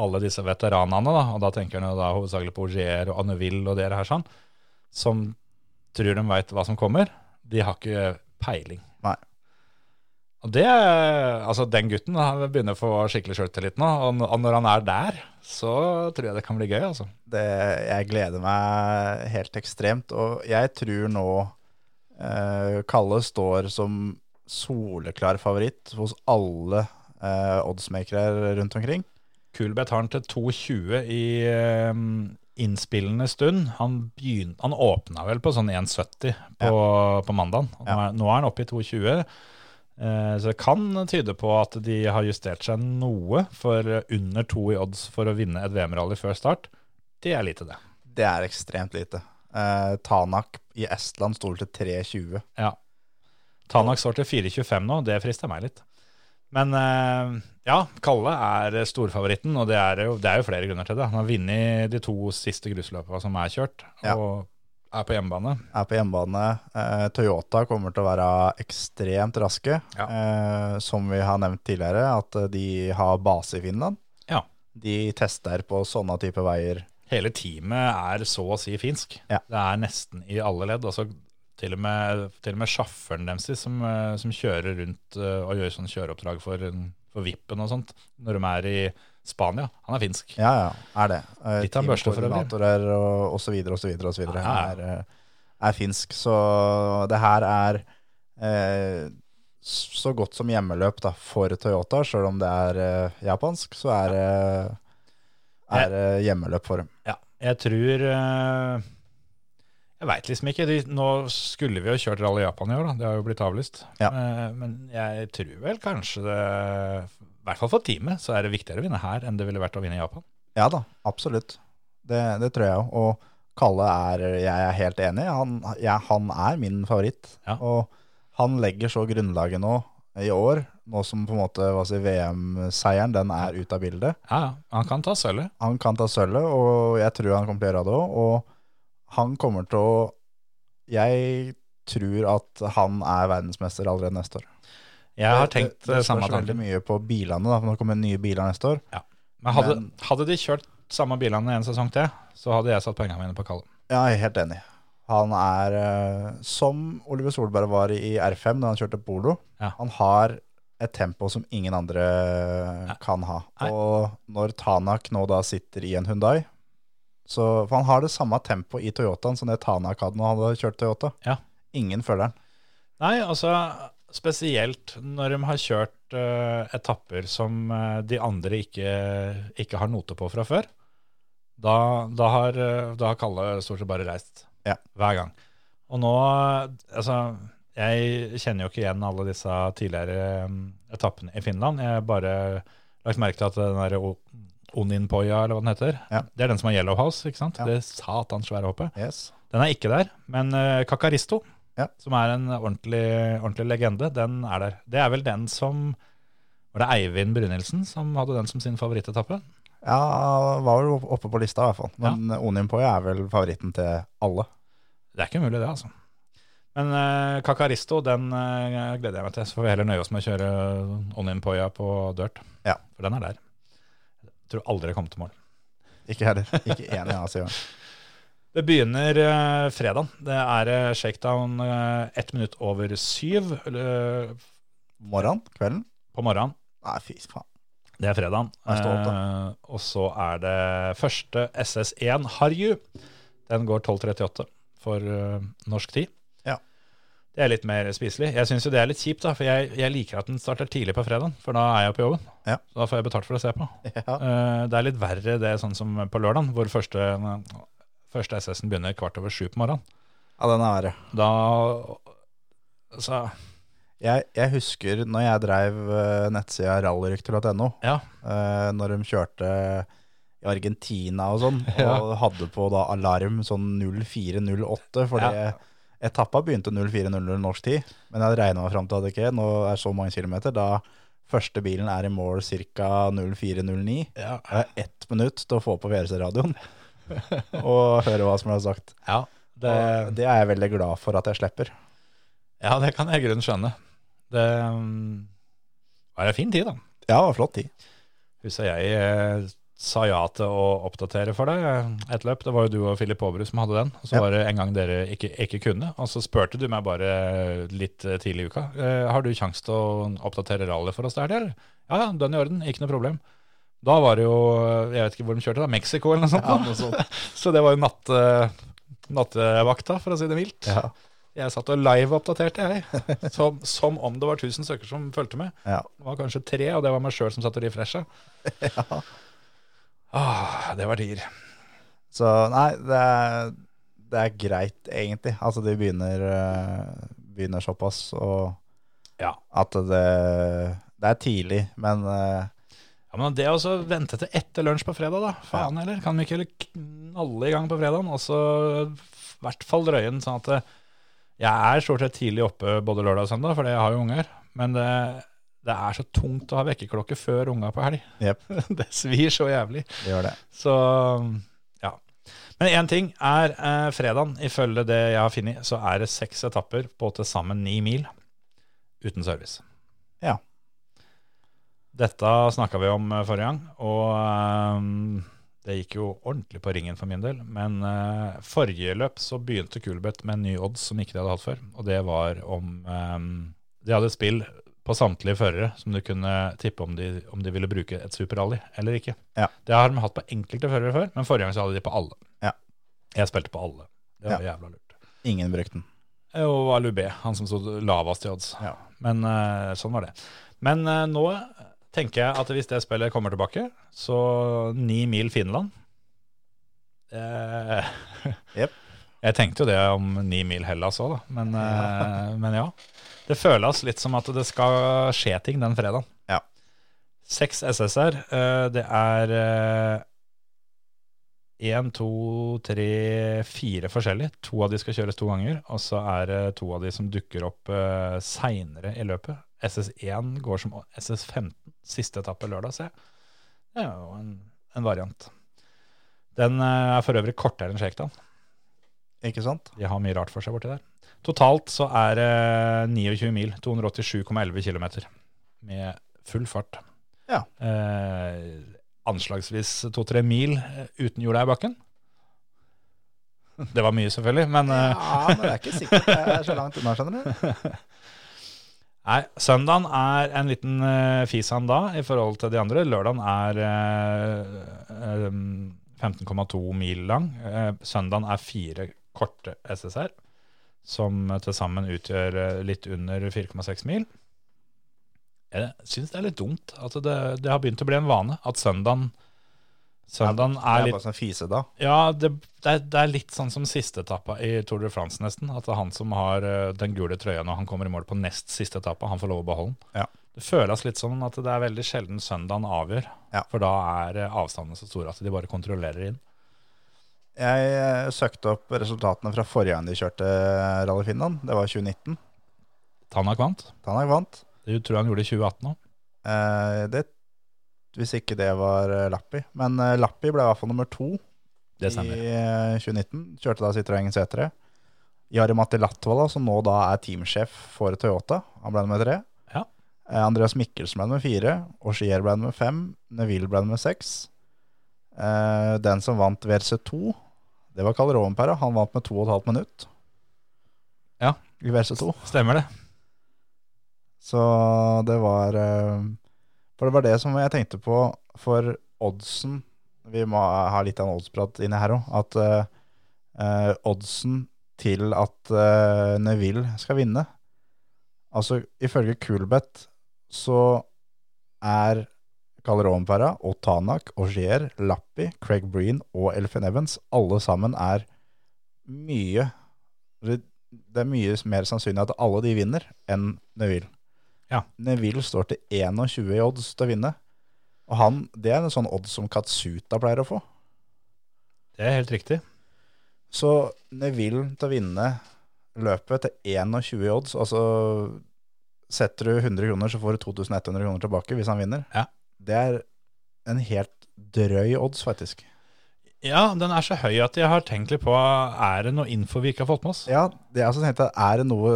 alle disse veteranene, da, og da tenker han jo da hovedsakelig på Ogier og Anneville og dere her sånn, som tror de veit hva som kommer, de har ikke peiling.
Nei.
Og det, altså Den gutten han begynner å få skikkelig sjøltillit nå. Og n- og når han er der, så tror jeg det kan bli gøy. altså.
det, jeg gleder meg helt ekstremt, og jeg tror nå eh, Kalle står som soleklar favoritt hos alle eh, oddsmakere rundt omkring.
Kulbeth har han til 2,20 i eh, innspillende stund. Han, begyn- han åpna vel på sånn 1,70 på, på mandagen. Og Nå,
Ja.
er, nå er han oppe i 2,20. Eh, så det kan tyde på at de har justert seg noe for under to i odds for å vinne et VM-rally før start. Det er lite, det.
Det er ekstremt lite. Eh, Tanak i Estland står til 3,20.
Ja. Tanak står til 4,25 nå, det frister meg litt. Men eh, ja, Kalle er storfavoritten, og det er, jo, det er jo flere grunner til det. Han har vunnet de to siste grusløpene som er kjørt,
Ja.
og er på hjemmebane.
Er på hjemmebane. Eh, Toyota kommer til å være ekstremt raske.
Ja.
Eh, som vi har nevnt tidligere, at eh, de har base i Finland.
Ja.
De tester på sånne type veier.
Hele teamet er så å si finsk.
Ja.
Det er nesten i alle ledd. Altså, til og med, til og med sjåføren deres som, eh, som kjører rundt eh, og gjør sånn kjøreoppdrag for, for Vippen og sånt, når de er i Spania, han er finsk.
Ja, ja, er det. Eh,
Litt av en børste for øvrig.
teamkoordinatorer og, og så videre og så videre og så videre
Ja, ja.
Er, eh, er finsk. Så det her er eh, så godt som hjemmeløp da, for Toyota, sjøl om det er eh, japansk, så er det er det hjemmeløp for dem.
Ja, jeg tror eh, Jeg veit liksom ikke. De, nå skulle vi jo kjørt Rally Japan i år, da. Det har jo blitt avlyst.
Ja.
Eh, men jeg tror vel kanskje det I hvert fall for teamet så er det viktigere å vinne her enn det ville vært å vinne i Japan.
Ja da, absolutt. Det, det tror jeg jo. Og Kalle er Jeg er helt enig. Han, ja, han er min favoritt.
Ja.
Og han legger så grunnlaget nå i år, nå som på en måte hva skal jeg si, VM-seieren den er ute av bildet.
Ja, ja. Han kan ta sølvet.
Han kan ta sølvet, og jeg tror han kommer til å gjøre det òg. Og han kommer til å Jeg tror at han er verdensmester allerede neste år.
Jeg har
Det-
tenkt eh,
det, det
samme
spørs veldig
tanke.
mye på bilene, da, for nå kommer nye biler neste år.
Men hadde,
men-
hadde de kjørt samme bilene en sesong til, så hadde jeg satt pengene mine på Kalle.
Ja, jeg er helt enig. Han er eh, som Oliver Solberg var i R5 da han kjørte polo.
Ja.
Han har et tempo som ingen andre kan ha.
Nei.
Og når Tanak nå da sitter i en Hundai så, For han har det samme tempoet i Toyotaen som det Tanak hadde når han hadde kjørt Toyota.
Ja.
Ingen følger han.
Nei, altså spesielt når de har kjørt eh, etapper som eh, de andre ikke, ikke har note på fra før. Da, da, har, eh, da har Kalle stort sett bare reist
Ja.
hver gang. Og nå, eh, altså Jeg kjenner jo ikke igjen alle disse tidligere eh, etappene i Finland. Jeg har bare lagt merke til at den derre O- Oninpoja, eller hva den heter,
Ja.
det er den som har Yellow House, ikke sant?
Ja.
Det satans svære hoppet.
Yes.
Den er ikke der, men eh, Kakaristo,
Ja.
som er en ordentlig, ordentlig legende, den er der. Det er vel den som Var det Eivind Brynildsen som hadde den som sin favorittetappe?
Ja, var vel oppe på lista i hvert fall. Men ja. Onim Poi er vel favoritten til alle.
Det er ikke umulig, det, altså. Men eh, Kakaristo den eh, gleder jeg meg til. Så får vi heller nøye oss med å kjøre Onin Poya på dirt.
Ja.
For den er der. Jeg tror aldri jeg kommer til mål.
Ikke heller. Ikke én i Asia.
Det begynner eh, fredagen. Det er eh, shakedown eh, ett minutt over syv eller, eh,
Morgen? Kvelden?
på morgenen.
Nei, fy faen. (laughs)
Det er fredagen.
Jeg er stolt,
Eh, og så er det første SS1 Harju. Den går 12.38 for eh, norsk tid.
Ja.
Det er litt mer spiselig. Jeg syns jo det er litt kjipt, da, for jeg, jeg liker at den starter tidlig på fredagen. For da er jeg på jobben.
Ja.
Så da får jeg betalt for å se på.
Ja.
Eh, det er litt verre det sånn som på lørdagen, hvor første, første SS-en begynner kvart over sju på morgenen.
ja, den er verre.
Da så,
Jeg, jeg husker når jeg dreiv eh, nettsida rallyrykter.no,
Ja.
eh, når de kjørte i Argentina og (laughs) sånn, og
Ja.
hadde på da alarm sånn 0408, fordi
Ja.
etappa begynte 0400 norsk tid, men jeg regna meg fram til at ok, nå er så mange kilometer, da første bilen er i mål ca. 0409.
ja.
Det er ett minutt til å få på (laughs) VRC-radioen og høre hva som er sagt.
det,
og det er jeg veldig glad for at jeg slipper.
ja, det kan jeg i grunnen skjønne. Det um, var en fin tid, da.
Ja, det var flott tid.
Husker jeg eh, sa ja til å oppdatere for deg eh, et løp. Det var jo du og Filip Aabrud som hadde den. Og så
Ja.
var det en gang dere ikke, ikke kunne. Og så spurte du meg bare litt eh, tidlig i uka. eh, Har du kjangs til å oppdatere rally for oss der, eller? Ja, ja, den i orden. Ikke noe problem. Da var det jo eh, Jeg vet ikke hvor de kjørte, da. Mexico eller noe sånt.
Ja,
da.
noe sånt.
Så det var jo natt, eh, nattevakta, for å si det mildt.
(laughs) Ja.
Jeg satt og live-oppdaterte, jeg. (laughs) Som, som om det var 1000 søkere som fulgte med.
Ja.
Det var kanskje tre, og det var meg sjøl som satt og refresha. Ah, det var tider.
Så nei, det er, det er greit egentlig. Altså de begynner, eh, begynner såpass, og
Ja.
at det, det er tidlig, men eh,
Ja, men det å så vente til etter lunsj på fredag, da. Faen heller. Kan vi ikke heller knalle i gang på fredagen? Og så i hvert fall drøye den sånn at eh, Jeg er stort sett tidlig oppe både lørdag og søndag, fordi jeg har jo unger. Men det, det er så tungt å ha vekkerklokke før unga på helg. (laughs)
Jep.
det svir så jævlig.
det gjør det.
Så ja. Men én ting er eh, fredagen. Ifølge det jeg har funnet, så er det seks etapper på til sammen ni mil uten service.
Ja.
Dette snakka vi om eh, forrige gang, og eh, det gikk jo ordentlig på ringen for min del. Men eh, forrige løp så begynte Kulbeth med en ny odds som ikke de hadde hatt før, og det var om eh, De hadde et spill på samtlige førere som du kunne tippe om de, om de ville bruke et superrally eller ikke. Det har de hatt på enkelte førere før, men forrige gang så hadde de på alle.
Ja.
Jeg spilte på alle. Det var jævla lurt.
Ingen brukte den.
Og Alubé, han som stod lavest i odds.
Ja.
Men eh, sånn var det. Men eh, nå tenker jeg at hvis det spillet kommer tilbake, så ni mil Finland Eh, (laughs)
Jep.
Jeg tenkte jo det om ni mil Hellas òg, da. Men, eh, men ja. Det føles litt som at det skal skje ting den fredagen.
Ja.
Seks SSR. eh, Det er én, to, tre, fire forskjellige. To av de skal kjøres to ganger, og så er det to av de som dukker opp uh, seinere i løpet. SS1 går som SS15, siste etappe lørdag, ser jeg. Det er jo en, en variant. Den eh, er for øvrig kortere enn Shakedown.
Ikke sant?
De har mye rart for seg borti der. Totalt så er det 29 mil, 287,11 km med full fart.
Ja.
Eh, anslagsvis to-tre mil eh, uten jorda i bakken. Det var mye, selvfølgelig, men eh,
Ja, men det er ikke sikkert det er så langt unna, skjønner (laughs) du.
nei, søndagen er en liten eh, fisan da i forhold til de andre. Lørdagen er eh, eh, 15,2 mil lang. Eh, søndagen er fire korte SSR, som til sammen utgjør eh, litt under 4,6 mil. Jeg syns det er litt dumt at det, det har begynt å bli en vane at søndagen, søndagen
Det
er
er
litt
bare sånn fise da.
Ja, det, det, er, det er litt sånn som siste etappa i Tour de France nesten. At det er han som har eh, den gule trøya når han kommer i mål på nest siste etappa, han får lov å beholde den.
Ja.
Det føles litt som at det er veldig sjelden søndagen avgjør.
Ja.
For da er eh, avstandene så store at de bare kontrollerer inn.
Jeg eh, søkte opp resultatene fra forrige gang de kjørte eh, Rally Finland. Det var 2019.
Tanak vant.
Tanak vant.
Det tror jeg han gjorde i 2018 òg.
Eh, det, hvis ikke det var eh, Lappi. Men eh, Lappi ble i hvert fall nummer to
Det stemmer.
i eh, 2019. Kjørte da Citroën Setre. Jari Matti Latvala, som nå da er teamsjef for Toyota, han ble nummer tre.
Ja.
Eh, Andreas Mikkelsen ble nummer fire. Oshier ble nummer fem. Neville ble nummer seks. Eh, den som vant WRC2, det var Karl Rovenpera. Han vant med to og et halvt minutt.
Ja.
I WRC2.
Stemmer det.
Så det var eh, For det var det som jeg tenkte på for oddsen Vi må ha litt av en oddsprat inne her òg. At eh, eh, oddsen til at eh, Neville skal vinne Altså ifølge Kulbeth så er Karl Rovenpera og Tanak og Gier, Lappi, Craig Breen og Elfin Evans alle sammen er mye Det er mye mer sannsynlig at alle de vinner enn Neville. Neville står til 21 i odds til å vinne. Og han, det er en sånn odds som Katsuta pleier å få.
Det er helt riktig.
Så Neville til å vinne løpet til 21 i odds, altså setter du 100 kroner, så får du 2100 kroner tilbake hvis han vinner.
Ja.
Det er en helt drøy odds, faktisk.
Ja, den er så høy at jeg har tenkt litt på Er det noe info vi ikke har fått med oss?
Ja, det er, altså, tenkt at er det noe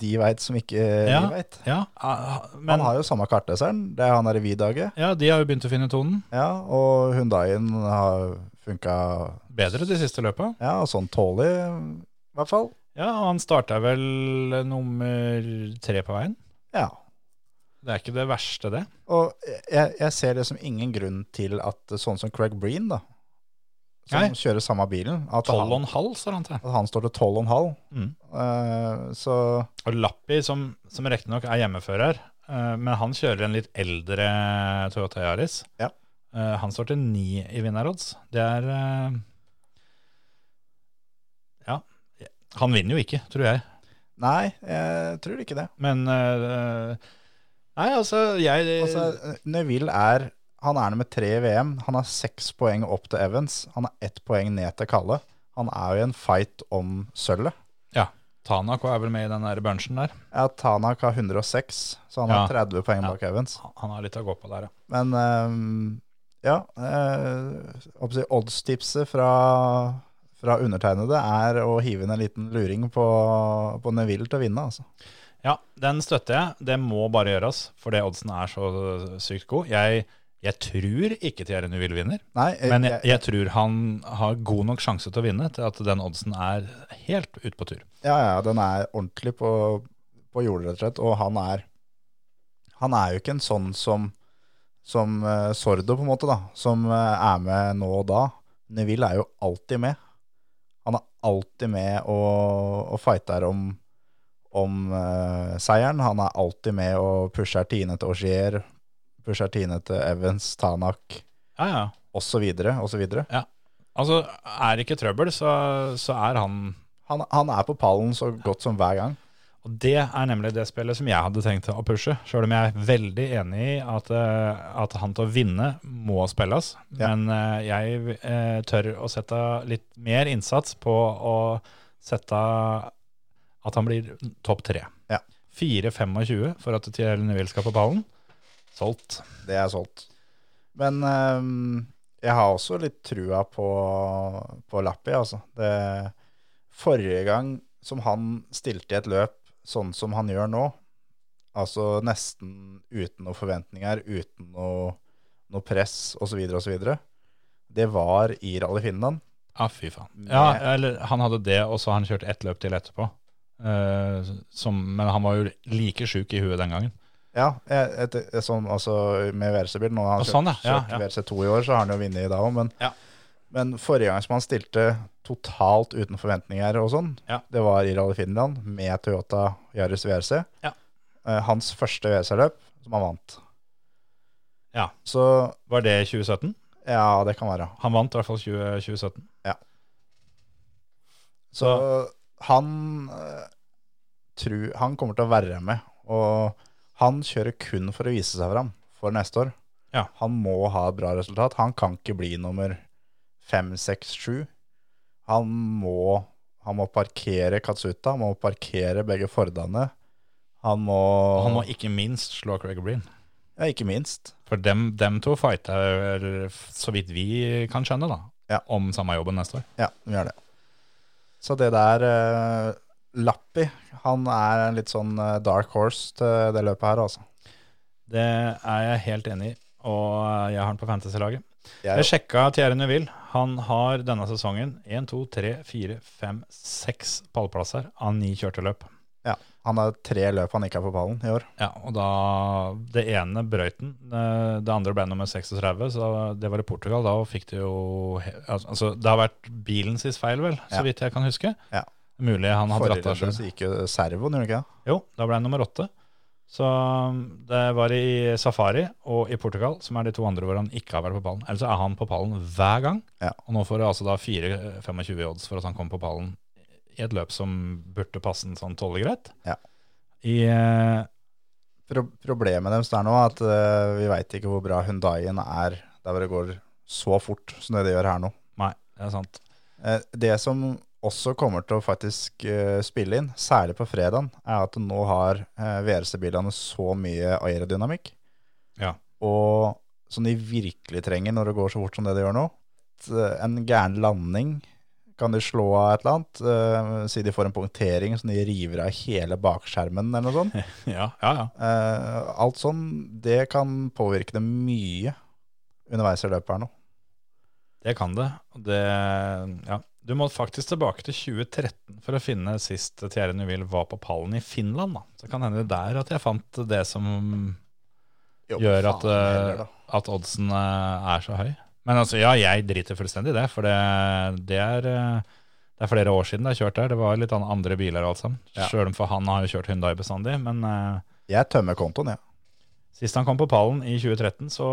de veit som ikke
Ja,
vi veit?
ja, ah,
Han
men
har jo samme kartleseren, det er han der i Vidage.
ja, de har jo begynt å finne tonen
Ja, og Hundaien har funka
bedre de siste løpa.
ja, sånn tålig, i hvert fall.
Ja, og han starta vel nummer tre på veien.
Ja,
Det er ikke det verste, det.
og jeg, jeg ser liksom ingen grunn til at sånn som Craig Breen, da, som
Nei.
kjører samme bilen, at
Tolv og
han,
en halv, står han til.
at han står til 12,5.
Mm.
Eh, så
Og Lappi, som, som riktignok er hjemmefører, eh, men han kjører en litt eldre Toyota Yaris.
Ja.
Eh, han står til ni i vinnerodds. Det er eh, Ja. Han vinner jo ikke, tror jeg.
nei, jeg tror ikke det.
Men eh, Nei, altså, jeg
Altså, Neville er han er nummer tre i VM. Han har seks poeng opp til Evans. Han har ett poeng ned til Kalle. Han er jo i en fight om sølvet.
Ja. Tanak er vel med i den der bunchen der.
Ja, Tanak har 106, så han har
Ja.
30 poeng
Ja.
bak Evans.
Han har litt å gå på der, ja.
Men ehm, ja, eh, hva skal jeg si, oddstipset fra, fra undertegnede er å hive inn en liten luring på, på Neville til å vinne. Altså.
Ja, den støtter jeg. Det må bare gjøres, fordi oddsen er så sykt god. Jeg, jeg tror ikke Thierry Neville vinner,
Nei, eh,
men jeg,
jeg,
jeg tror han har god nok sjanse til å vinne til at den oddsen er helt ute på tur.
ja, ja, den er ordentlig på, på jordet, rett og slett. Og han er, han er jo ikke en sånn som, som eh, Sordo, på en måte, da, som eh, er med nå og da. Neville er jo alltid med. Han er alltid med og, og fighter om om eh, seieren. Han er alltid med og pusher tiende til Augier, pusher tiende til Evans, Tanak
Ja, ja.
osv. osv.
Altså, er det ikke trøbbel, så, så er han
Han, han er på pallen så godt som hver gang.
Og det er nemlig det spillet som jeg hadde tenkt å pushe, sjøl om jeg er veldig enig i at, eh, at han til å vinne må spilles.
Ja.
Men eh, jeg eh, tør å sette litt mer innsats på å sette at han blir topp tre.
Ja.
4-25 for at Thierry Neville skal på ballen. Solgt.
Det er solgt. Men eh, jeg har også litt trua på, på Lappi, altså. Det, forrige gang som han stilte i et løp sånn som han gjør nå, altså nesten uten noen forventninger, uten noe, noe press osv., osv., det var i Rally Finland.
Ja, Ah, fy faen.
Mm,
Ja, eller han hadde det, og så har han kjørt ett løp til etterpå. Eh, som, men han var jo like sjuk i huet den gangen.
Ja, jeg, et, et, sånn, altså med VRC-bil. Nå har han
Og sånn, ja.
kjørt,
Ja,
kjørt
ja.
VRC2 i år, så har han jo vunnet i dag òg. Men,
Ja.
men forrige gang som han stilte totalt uten forventninger og sånn,
Ja.
det var i Rally Finland med Toyota Yaris VRC.
Ja.
Eh, hans første VRC-løp, som han vant.
Ja.
Så
Var det 2017?
ja, det kan være.
Han vant i hvert fall 20, 2017.
Så han eh, tror Han kommer til å være med. Og han kjører kun for å vise seg fram for neste år.
Ja.
Han må ha et bra resultat. Han kan ikke bli nummer fem, seks, sju. Han må, han må parkere Katsuta, han må parkere begge Fordene. Han må,
Og han må ikke minst slå Craig Breen.
Ja, ikke minst.
For dem, dem to fighter, så vidt vi kan skjønne, da,
Ja.
om samme jobben neste år.
Ja, vi gjør det. Så det der eh, Lappi, han er en litt sånn eh, dark horse til det løpet her, altså.
Det er jeg helt enig i, og jeg har den på fantasy-laget.
Jeg,
Jeg sjekka Thierry Neville. Han har denne sesongen 1, 2, 3, 4, 5, 6 pallplasser av ni kjørte løp.
ja, han har tre løp han ikke er på pallen i år.
Ja, og da Det ene brøyten, eh, det andre ble nummer 36, så det var i Portugal. Da og fikk det jo he- Altså, det har vært bilen sist feil, vel, så
Ja.
vidt jeg kan huske.
Ja.
Mulig han har dratt
Forrige
av
løp
sjøl.
så gikk jo servoen, gjorde han ikke det?
Jo, da ble jeg nummer åtte. Så um, det var i Safari og i Portugal, som er de to andre hvor han ikke har vært på pallen. Ellers er han på pallen hver gang.
Ja.
Og nå får du altså da 4-25 i odds for at han kommer på pallen i et løp som burde passe en sånn tålelig greit.
Ja.
I, eh,
Pro problemet deres der nå er at eh, vi veit ikke hvor bra Hundaien er der hvor det går så fort som det det gjør her nå.
nei, det er sant. (laughs)
Eh, det som også kommer til å faktisk eh, spille inn, særlig på fredagen, er at nå har uh, VRC-bilene så mye aerodynamikk.
Ja.
Og som de virkelig trenger når det går så fort som det det gjør nå. at, eh, En gæren landing kan de slå av et eller annet. eh, si de får en punktering som de river av hele bakskjermen eller noe sånt.
(laughs) Ja, ja, ja.
Eh, alt sånn, det kan påvirke dem mye underveis i løpet her nå.
Det kan det. Og det ja. Du må faktisk tilbake til 2013 for å finne sist Thierry Neuville var på pallen i Finland. Da. Så kan hende det er der at jeg fant det som gjør at, eh, at oddsen eh, er så høy. Men altså, ja, jeg driter fullstendig i det, for det, det, er, eh, det er flere år siden jeg har kjørt der. Det var litt an- andre biler og alt sammen.
Ja.
Selv om for han har jo kjørt Hyundai bestandig, men eh,
Jeg tømmer kontoen, jeg. Ja.
sist han kom på pallen i 2013, så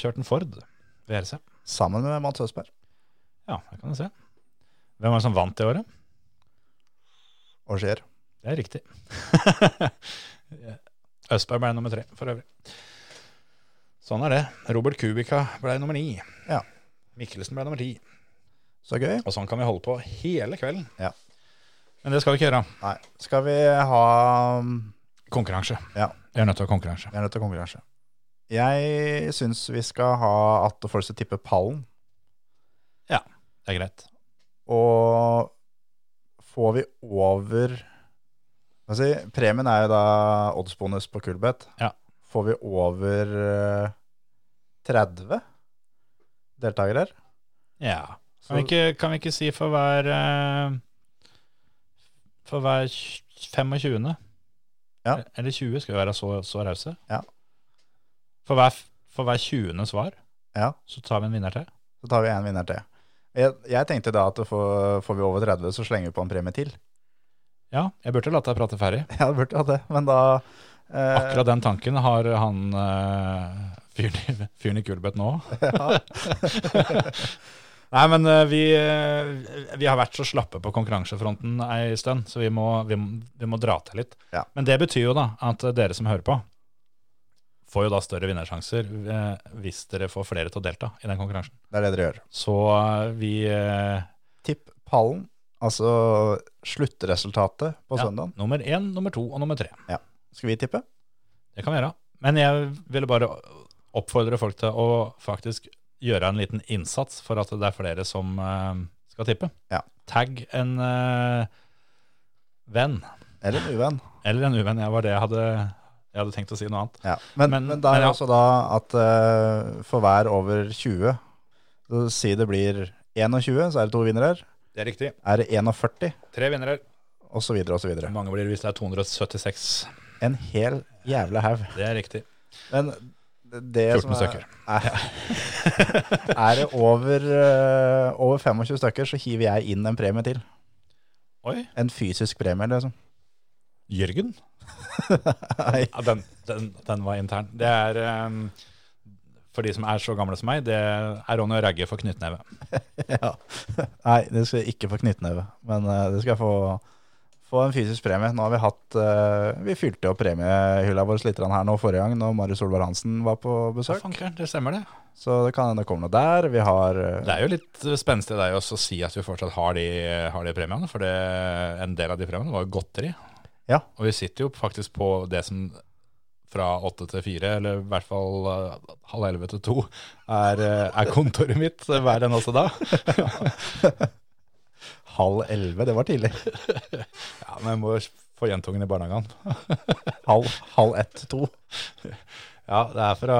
kjørte han Ford VRC.
Sammen med Mats Østberg.
Ja, det kan du se. Hvem var det som vant det året?
Og Skier.
Det er riktig. (laughs) Østberg ble nummer tre, for øvrig. Sånn er det. Robert Kubica ble nummer ni.
Ja.
Mikkelsen ble nummer ti.
Så gøy.
Og sånn kan vi holde på hele kvelden.
Ja.
Men det skal vi ikke gjøre.
Nei, skal vi ha
Konkurranse.
Ja.
Vi er nødt til å ha konkurranse.
Vi er nødt til konkurranse. Jeg syns vi skal ha at folk skal tippe pallen.
Det er greit.
Og får vi over Hva skal jeg si, Premien er jo da oddsbonus på Kulbeth.
Ja.
Får vi over eh, 30 deltakere,
Ja.
så
Kan vi ikke, kan vi ikke si for hver eh, For hver tj- 25.
Ja.
Eller 20, skal vi være så, så rause.
Ja.
For hver, for hver 20. svar
Ja.
så tar vi en vinner til.
så tar vi en vinner til. Jeg, jeg tenkte da at får, får vi over 30, så slenger vi på en premie til.
Ja, jeg burde latt deg prate ferdig.
Ja, det burde hatt det, men da eh,
Akkurat den tanken har han eh, fyren i- fyren i Kulbeth nå.
ja.
(laughs) Nei, men eh, vi, eh, vi har vært så slappe på konkurransefronten ei stund, så vi må, vi, må- vi må dra til litt.
Ja.
Men det betyr jo da at dere som hører på, får jo da større vinnersjanser eh, hvis dere får flere til å delta i den konkurransen.
Det er det dere gjør.
Så eh, vi eh,
Tipp pallen, altså sluttresultatet på
ja,
søndagen.
Nummer én, nummer to og nummer tre.
Skal vi tippe?
Det kan vi gjøre. Men jeg ville bare oppfordre folk til å faktisk gjøre en liten innsats for at det er flere som eh, skal tippe.
Ja.
Tagg en eh, venn.
Eller en uvenn.
Eller en uvenn. Jeg var det jeg hadde, jeg hadde tenkt å si noe annet.
Ja. Men,
Men-
men, da
men
er det
ja.
altså da at eh, for hver over 20, så si det blir 21, så er det to vinnere.
Det er riktig.
Er det 41,
Tre vinnere.
og så videre og så videre.
Hvor mange blir det hvis det er 276?
En hel jævla haug.
Det er riktig.
Men det
14
som
stykker.
er, er, er (laughs) det over, eh, over 25 stykker, så hiver jeg inn en premie til.
Oi.
En fysisk premie, liksom.
(laughs) Jørgen?
Nei.
Ja, den, den, den var intern. Det er ehm, For de som er så gamle som meg, det er Ronny og Ragge for knyttneve.
Ja. Nei, det skal jeg ikke få knyttneve, men eh, det skal jeg få, få en fysisk premie. Nå har vi hatt eh, Vi fylte jo premiehylla vår litt grann her nå forrige gang, når Marius Solvær Hansen var på
Ja,
besøk.
fanker, det stemmer, det.
Så det kan hende det kommer noe der. Vi har eh,
Det er jo litt spenstig av deg også å si at vi fortsatt har de, har de premiene, for det, en del av de premiene var jo godteri.
Ja.
Og vi sitter jo faktisk på det som fra åtte til fire, eller i hvert fall eh, halv elleve til to, er, eh, er kontoret mitt hver eneste dag.
(laughs) Halv elleve, det var tidlig.
(laughs) Ja, men jeg må jo få jentungen i barnehagen.
Halv, halv ett, to.
Ja, det er fra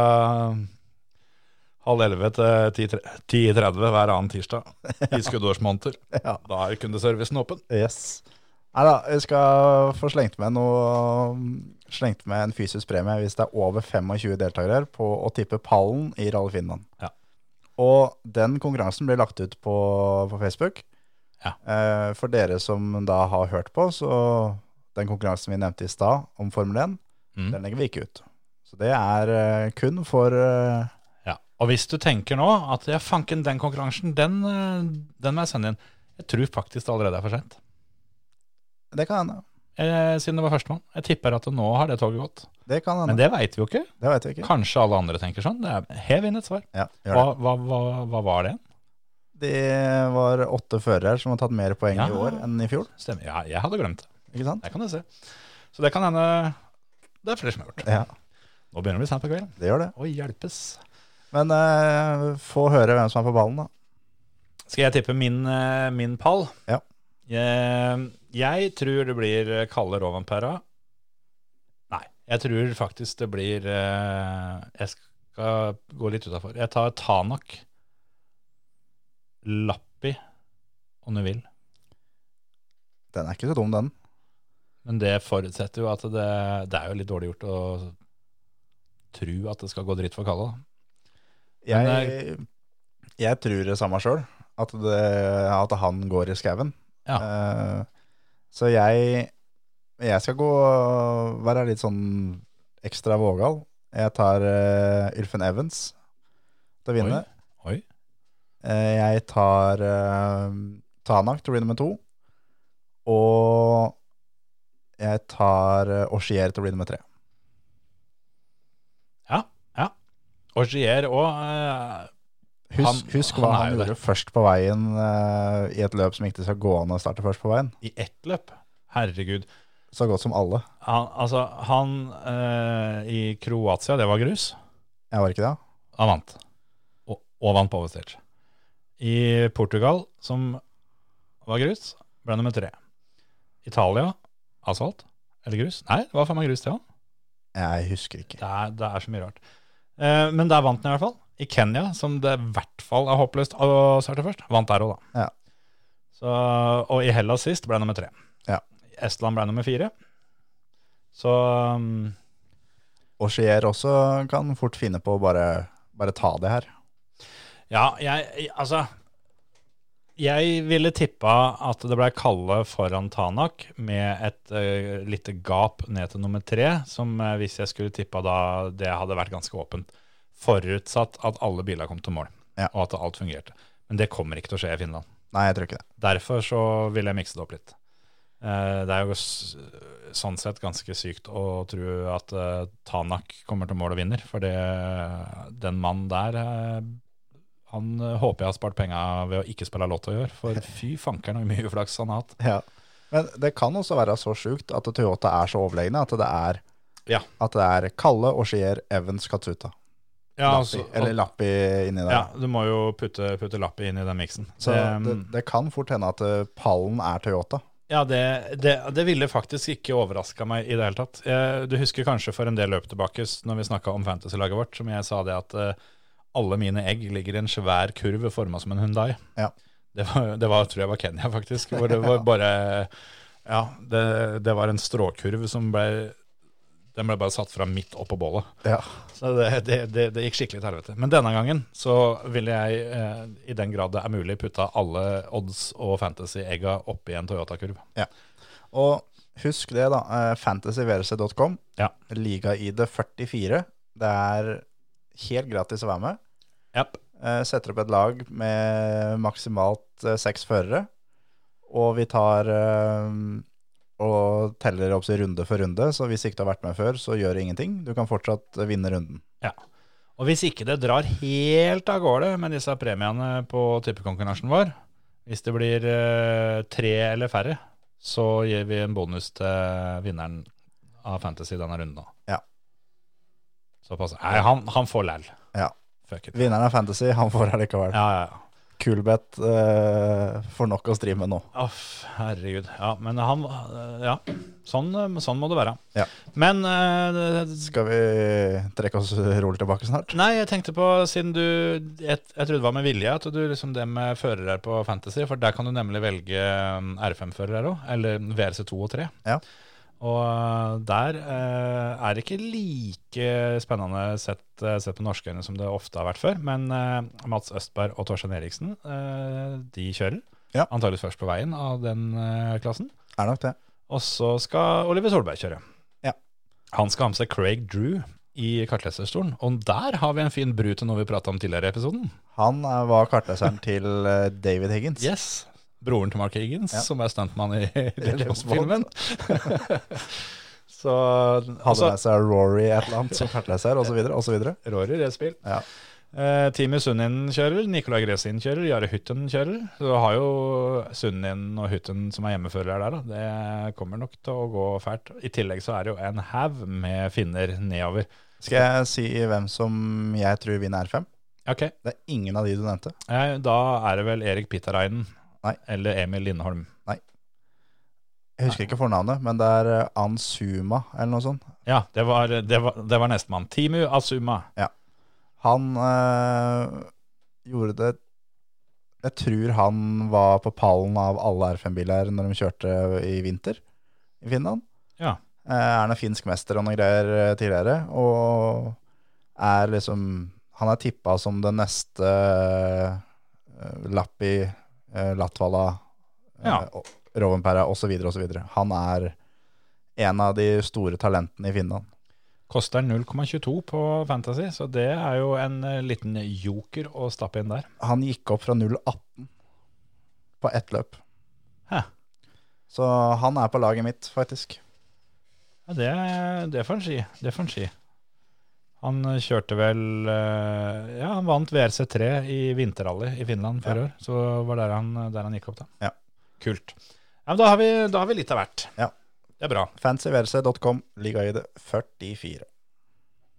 halv elleve til ti tre- 10.30 hver annen tirsdag i skuddårsmåneder.
Ja.
Da er kundeservicen åpen.
Yes. Nei da, vi skal få slengt med noe Slengt med en fysisk premie hvis det er over 25 deltakere på å tippe pallen i Rally Finland.
Ja.
Og den konkurransen blir lagt ut på, på Facebook.
Ja.
Eh, for dere som da har hørt på, så den konkurransen vi nevnte i stad om Formel 1,
Mm.
den legger vi ikke ut. Så det er eh, kun for eh,
Ja, og hvis du tenker nå at ja, fanken, den konkurransen, den, eh, den må jeg sende inn. Jeg tror faktisk det allerede er for sent.
Det kan hende.
Eh, siden det var førstemann. Jeg tipper at nå har det toget gått.
Det kan
Men
hende.
det veit vi jo ikke.
Det, det veit vi ikke.
Kanskje alle andre tenker sånn. Det er hev inn et svar.
Ja, gjør det.
Hva, hva, hva, hva var det?
Det var åtte førere som har tatt mer poeng
Ja.
i år enn i fjor.
Stemmer. Ja, jeg hadde glemt det.
Ikke sant?
Det kan du se. Så det kan hende det er flere som har gjort.
Ja,
Nå begynner det å bli sent på kvelden.
det gjør det.
Å hjelpes.
Men eh, få høre hvem som er på ballen, da.
Skal jeg tippe min, eh, min pall?
Ja.
Jeg, jeg tror det blir eh, Kalle Rovanpera. Nei, jeg tror faktisk det blir eh, Jeg skal gå litt utafor. Jeg tar Tanak, Lappi og Neville.
Den er ikke så dum, den.
Men det forutsetter jo at det, det er jo litt dårlig gjort å tro at det skal gå dritt for Kalle. da. Men
Jeg, jeg tror det samme sjøl, at, det- at han går i skauen. Eh, så jeg, jeg skal gå være litt sånn ekstra vågal. Jeg tar eh, Ylfen Evans til å vinne.
Oi. Oi.
Eh, Jeg tar eh, Tanak til å bli nummer to. Og jeg tar eh, Oshier til å bli nummer tre.
Og Gier òg
Husk,
Han-
husk
han
hva
er
han
jo
gjorde
det.
først på veien eh, i et løp som ikke skal gå an å starte først på veien.
i ett løp. Herregud.
Så godt som alle.
Han, altså, han eh, i Kroatia, det var grus.
Jeg var ikke det?
Han vant. Og, og vant på overstage. I Portugal, som var grus, ble nummer tre. Italia, asfalt. Eller grus? Nei, det var faen meg grus, det òg.
Jeg husker ikke.
Det, er- det er så mye rart. Eh, men der vant han i hvert fall. I Kenya, som det i hvert fall er håpløst å starte først, vant der òg, da.
Ja.
Så, og i Hellas sist ble han nummer tre.
Ja.
Estland ble nummer fire. Så mm,
Oshier også kan fort finne på å bare, bare ta det her.
Ja, jeg Altså Jeg ville tippa at det ble Kalle foran Tanak med et eh, lite gap ned til nummer tre, som eh, hvis jeg skulle tippa da, det hadde vært ganske åpent. Forutsatt at alle biler kom til mål,
Ja.
og at alt fungerte. Men det kommer ikke til å skje i Finland.
Nei, jeg tror ikke det.
Derfor så vil jeg mikse det opp litt. Eh, Det er jo s- sånn sett ganske sykt å tro at eh, Tanak kommer til mål og vinner, for det, den mannen der eh, han eh, håper jeg har spart penga ved å ikke spille lotto i år, for
(laughs)
fy fankeren hvor mye (laughs) uflaks han har hatt.
Ja. Men det kan også være så sjukt at Toyota er så overlegne at det er,
Ja.
at det er Kalle, Oshier, Evans, Katsuta.
Ja, altså,
Lappi, eller Lappi inni der.
ja, du må jo putte, putte lappet inn i den miksen.
Så
Det- mm. um,
det, det kan fort hende at eh, pallen er Toyota.
Ja, det, det, det ville faktisk ikke overraska meg i det hele tatt. Eh, Du husker kanskje for en del løp tilbake s- når vi snakka om fantasy-laget vårt, som jeg sa det at eh, alle mine egg ligger i en svær kurv forma som en Hundai.
Ja.
Det, var, det var, tror jeg var Kenya, faktisk. Hvor det var bare Ja, det, det var en stråkurv som ble Den ble bare satt fram midt oppå bålet.
Ja.
Så det, det, det, det gikk skikkelig til helvete. Men denne gangen så ville jeg, eh, i den grad det er mulig, putta alle odds og fantasy-egga oppi en Toyota-kurv.
Og husk det, da. eh, Fantasyvrc.com.
Ja.
Liga-ID 44. Det er helt gratis å være med.
Japp.
Eh, Setter opp et lag med maksimalt eh, seks førere. Og vi tar eh, og teller opp så runde for runde, så hvis ikke du har vært med før, så gjør det ingenting. Du kan fortsatt eh, vinne runden.
Ja. Og hvis ikke det drar helt av gårde med disse premiene på tippekonkurransen vår, hvis det blir eh, tre eller færre, så gir vi en bonus til vinneren av Fantasy denne runden. da.
Ja.
Såpass. Nei, han, han får læll.
Ja.
Fuck it.
Vinneren av Fantasy, han får her likevel.
Ja, ja, ja.
Kulbeth eh, får nok å stri med nå.
Aff, herregud. Ja, men han Ja, sånn, sånn må det være.
Ja.
Men eh,
Skal vi trekke oss eh, rolig tilbake snart?
Nei, jeg tenkte på, siden du Jeg, jeg trodde det var med vilje at du liksom det med førere på Fantasy, for der kan du nemlig velge um, R5-førere òg, eller VRC2 og 3.
Ja.
Og uh, der eh, er det ikke like spennende sett, eh, sett med norske øyne som det ofte har vært før. Men eh, Mats Østberg og Torstein Eriksen, eh, de kjører.
Ja.
Antakeligvis først på veien av den eh, klassen.
Er nok det.
Og så skal Oliver Solberg kjøre.
Ja.
Han skal ha med seg Craig Drew i kartleserstolen. Og der har vi en fin bru til noe vi prata om tidligere i episoden.
Han eh, var kartleseren til eh, David Higgins.
Yes. Broren til Mark Higgins,
Ja.
som er stuntmann
(laughs)
i
James
James-filmen. (laughs) så
Hadde
altså,
med seg Rory et eller annet som kartleser, osv. osv.
Rory Redspill.
Ja.
Eh, Teamy Sunnien kjører, Nicolai Gresin kjører, Jare Hytten kjører. Så du har jo Sunnien og Hytten som er hjemmeførere der, da. Det kommer nok til å gå fælt. I tillegg så er det jo en haug med finner nedover.
Skal jeg si hvem som jeg tror vinner R5?
Ok,
Det er ingen av de du nevnte.
Nei, da er det vel Erik Pitarainen
Nei.
eller Emil Lindholm.
Jeg husker ikke fornavnet, men det er eh, Ansuma eller noe sånt.
Ja, det var, det var, det var nestemann. Timu Asuma.
Han eh, gjorde det Jeg tror han var på pallen av alle R5-biler når de kjørte i vinter i Finland.
Ja.
Eh, er noen finsk mester og noen greier eh, tidligere, og er liksom Han er tippa som den neste eh, Lappi, eh, Latvala, eh,
Ja.
og- Rovanperä osv. osv. Han er en av de store talentene i Finland.
Koster 0,22 på Fantasy, så det er jo en eh, liten joker å stappe inn der.
han gikk opp fra 0,18 på ett løp.
Hæ.
Så han er på laget mitt, faktisk.
Ja, det, det får en si. Det får en si. Han eh, kjørte vel eh, Ja, han vant VRC3 i vinterrally i Finland forrige år. Så var der han, der han gikk opp, da.
Ja.
Kult. Ja, men da har, vi, da har vi litt av hvert.
Ja.
Det er bra.
Fancyverse.com, ligaid 44.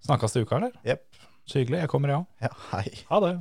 Snakkes til uka, eller?
Jepp.
Så hyggelig. Jeg kommer, jeg ja. òg.
Ja, hei.
Ha det.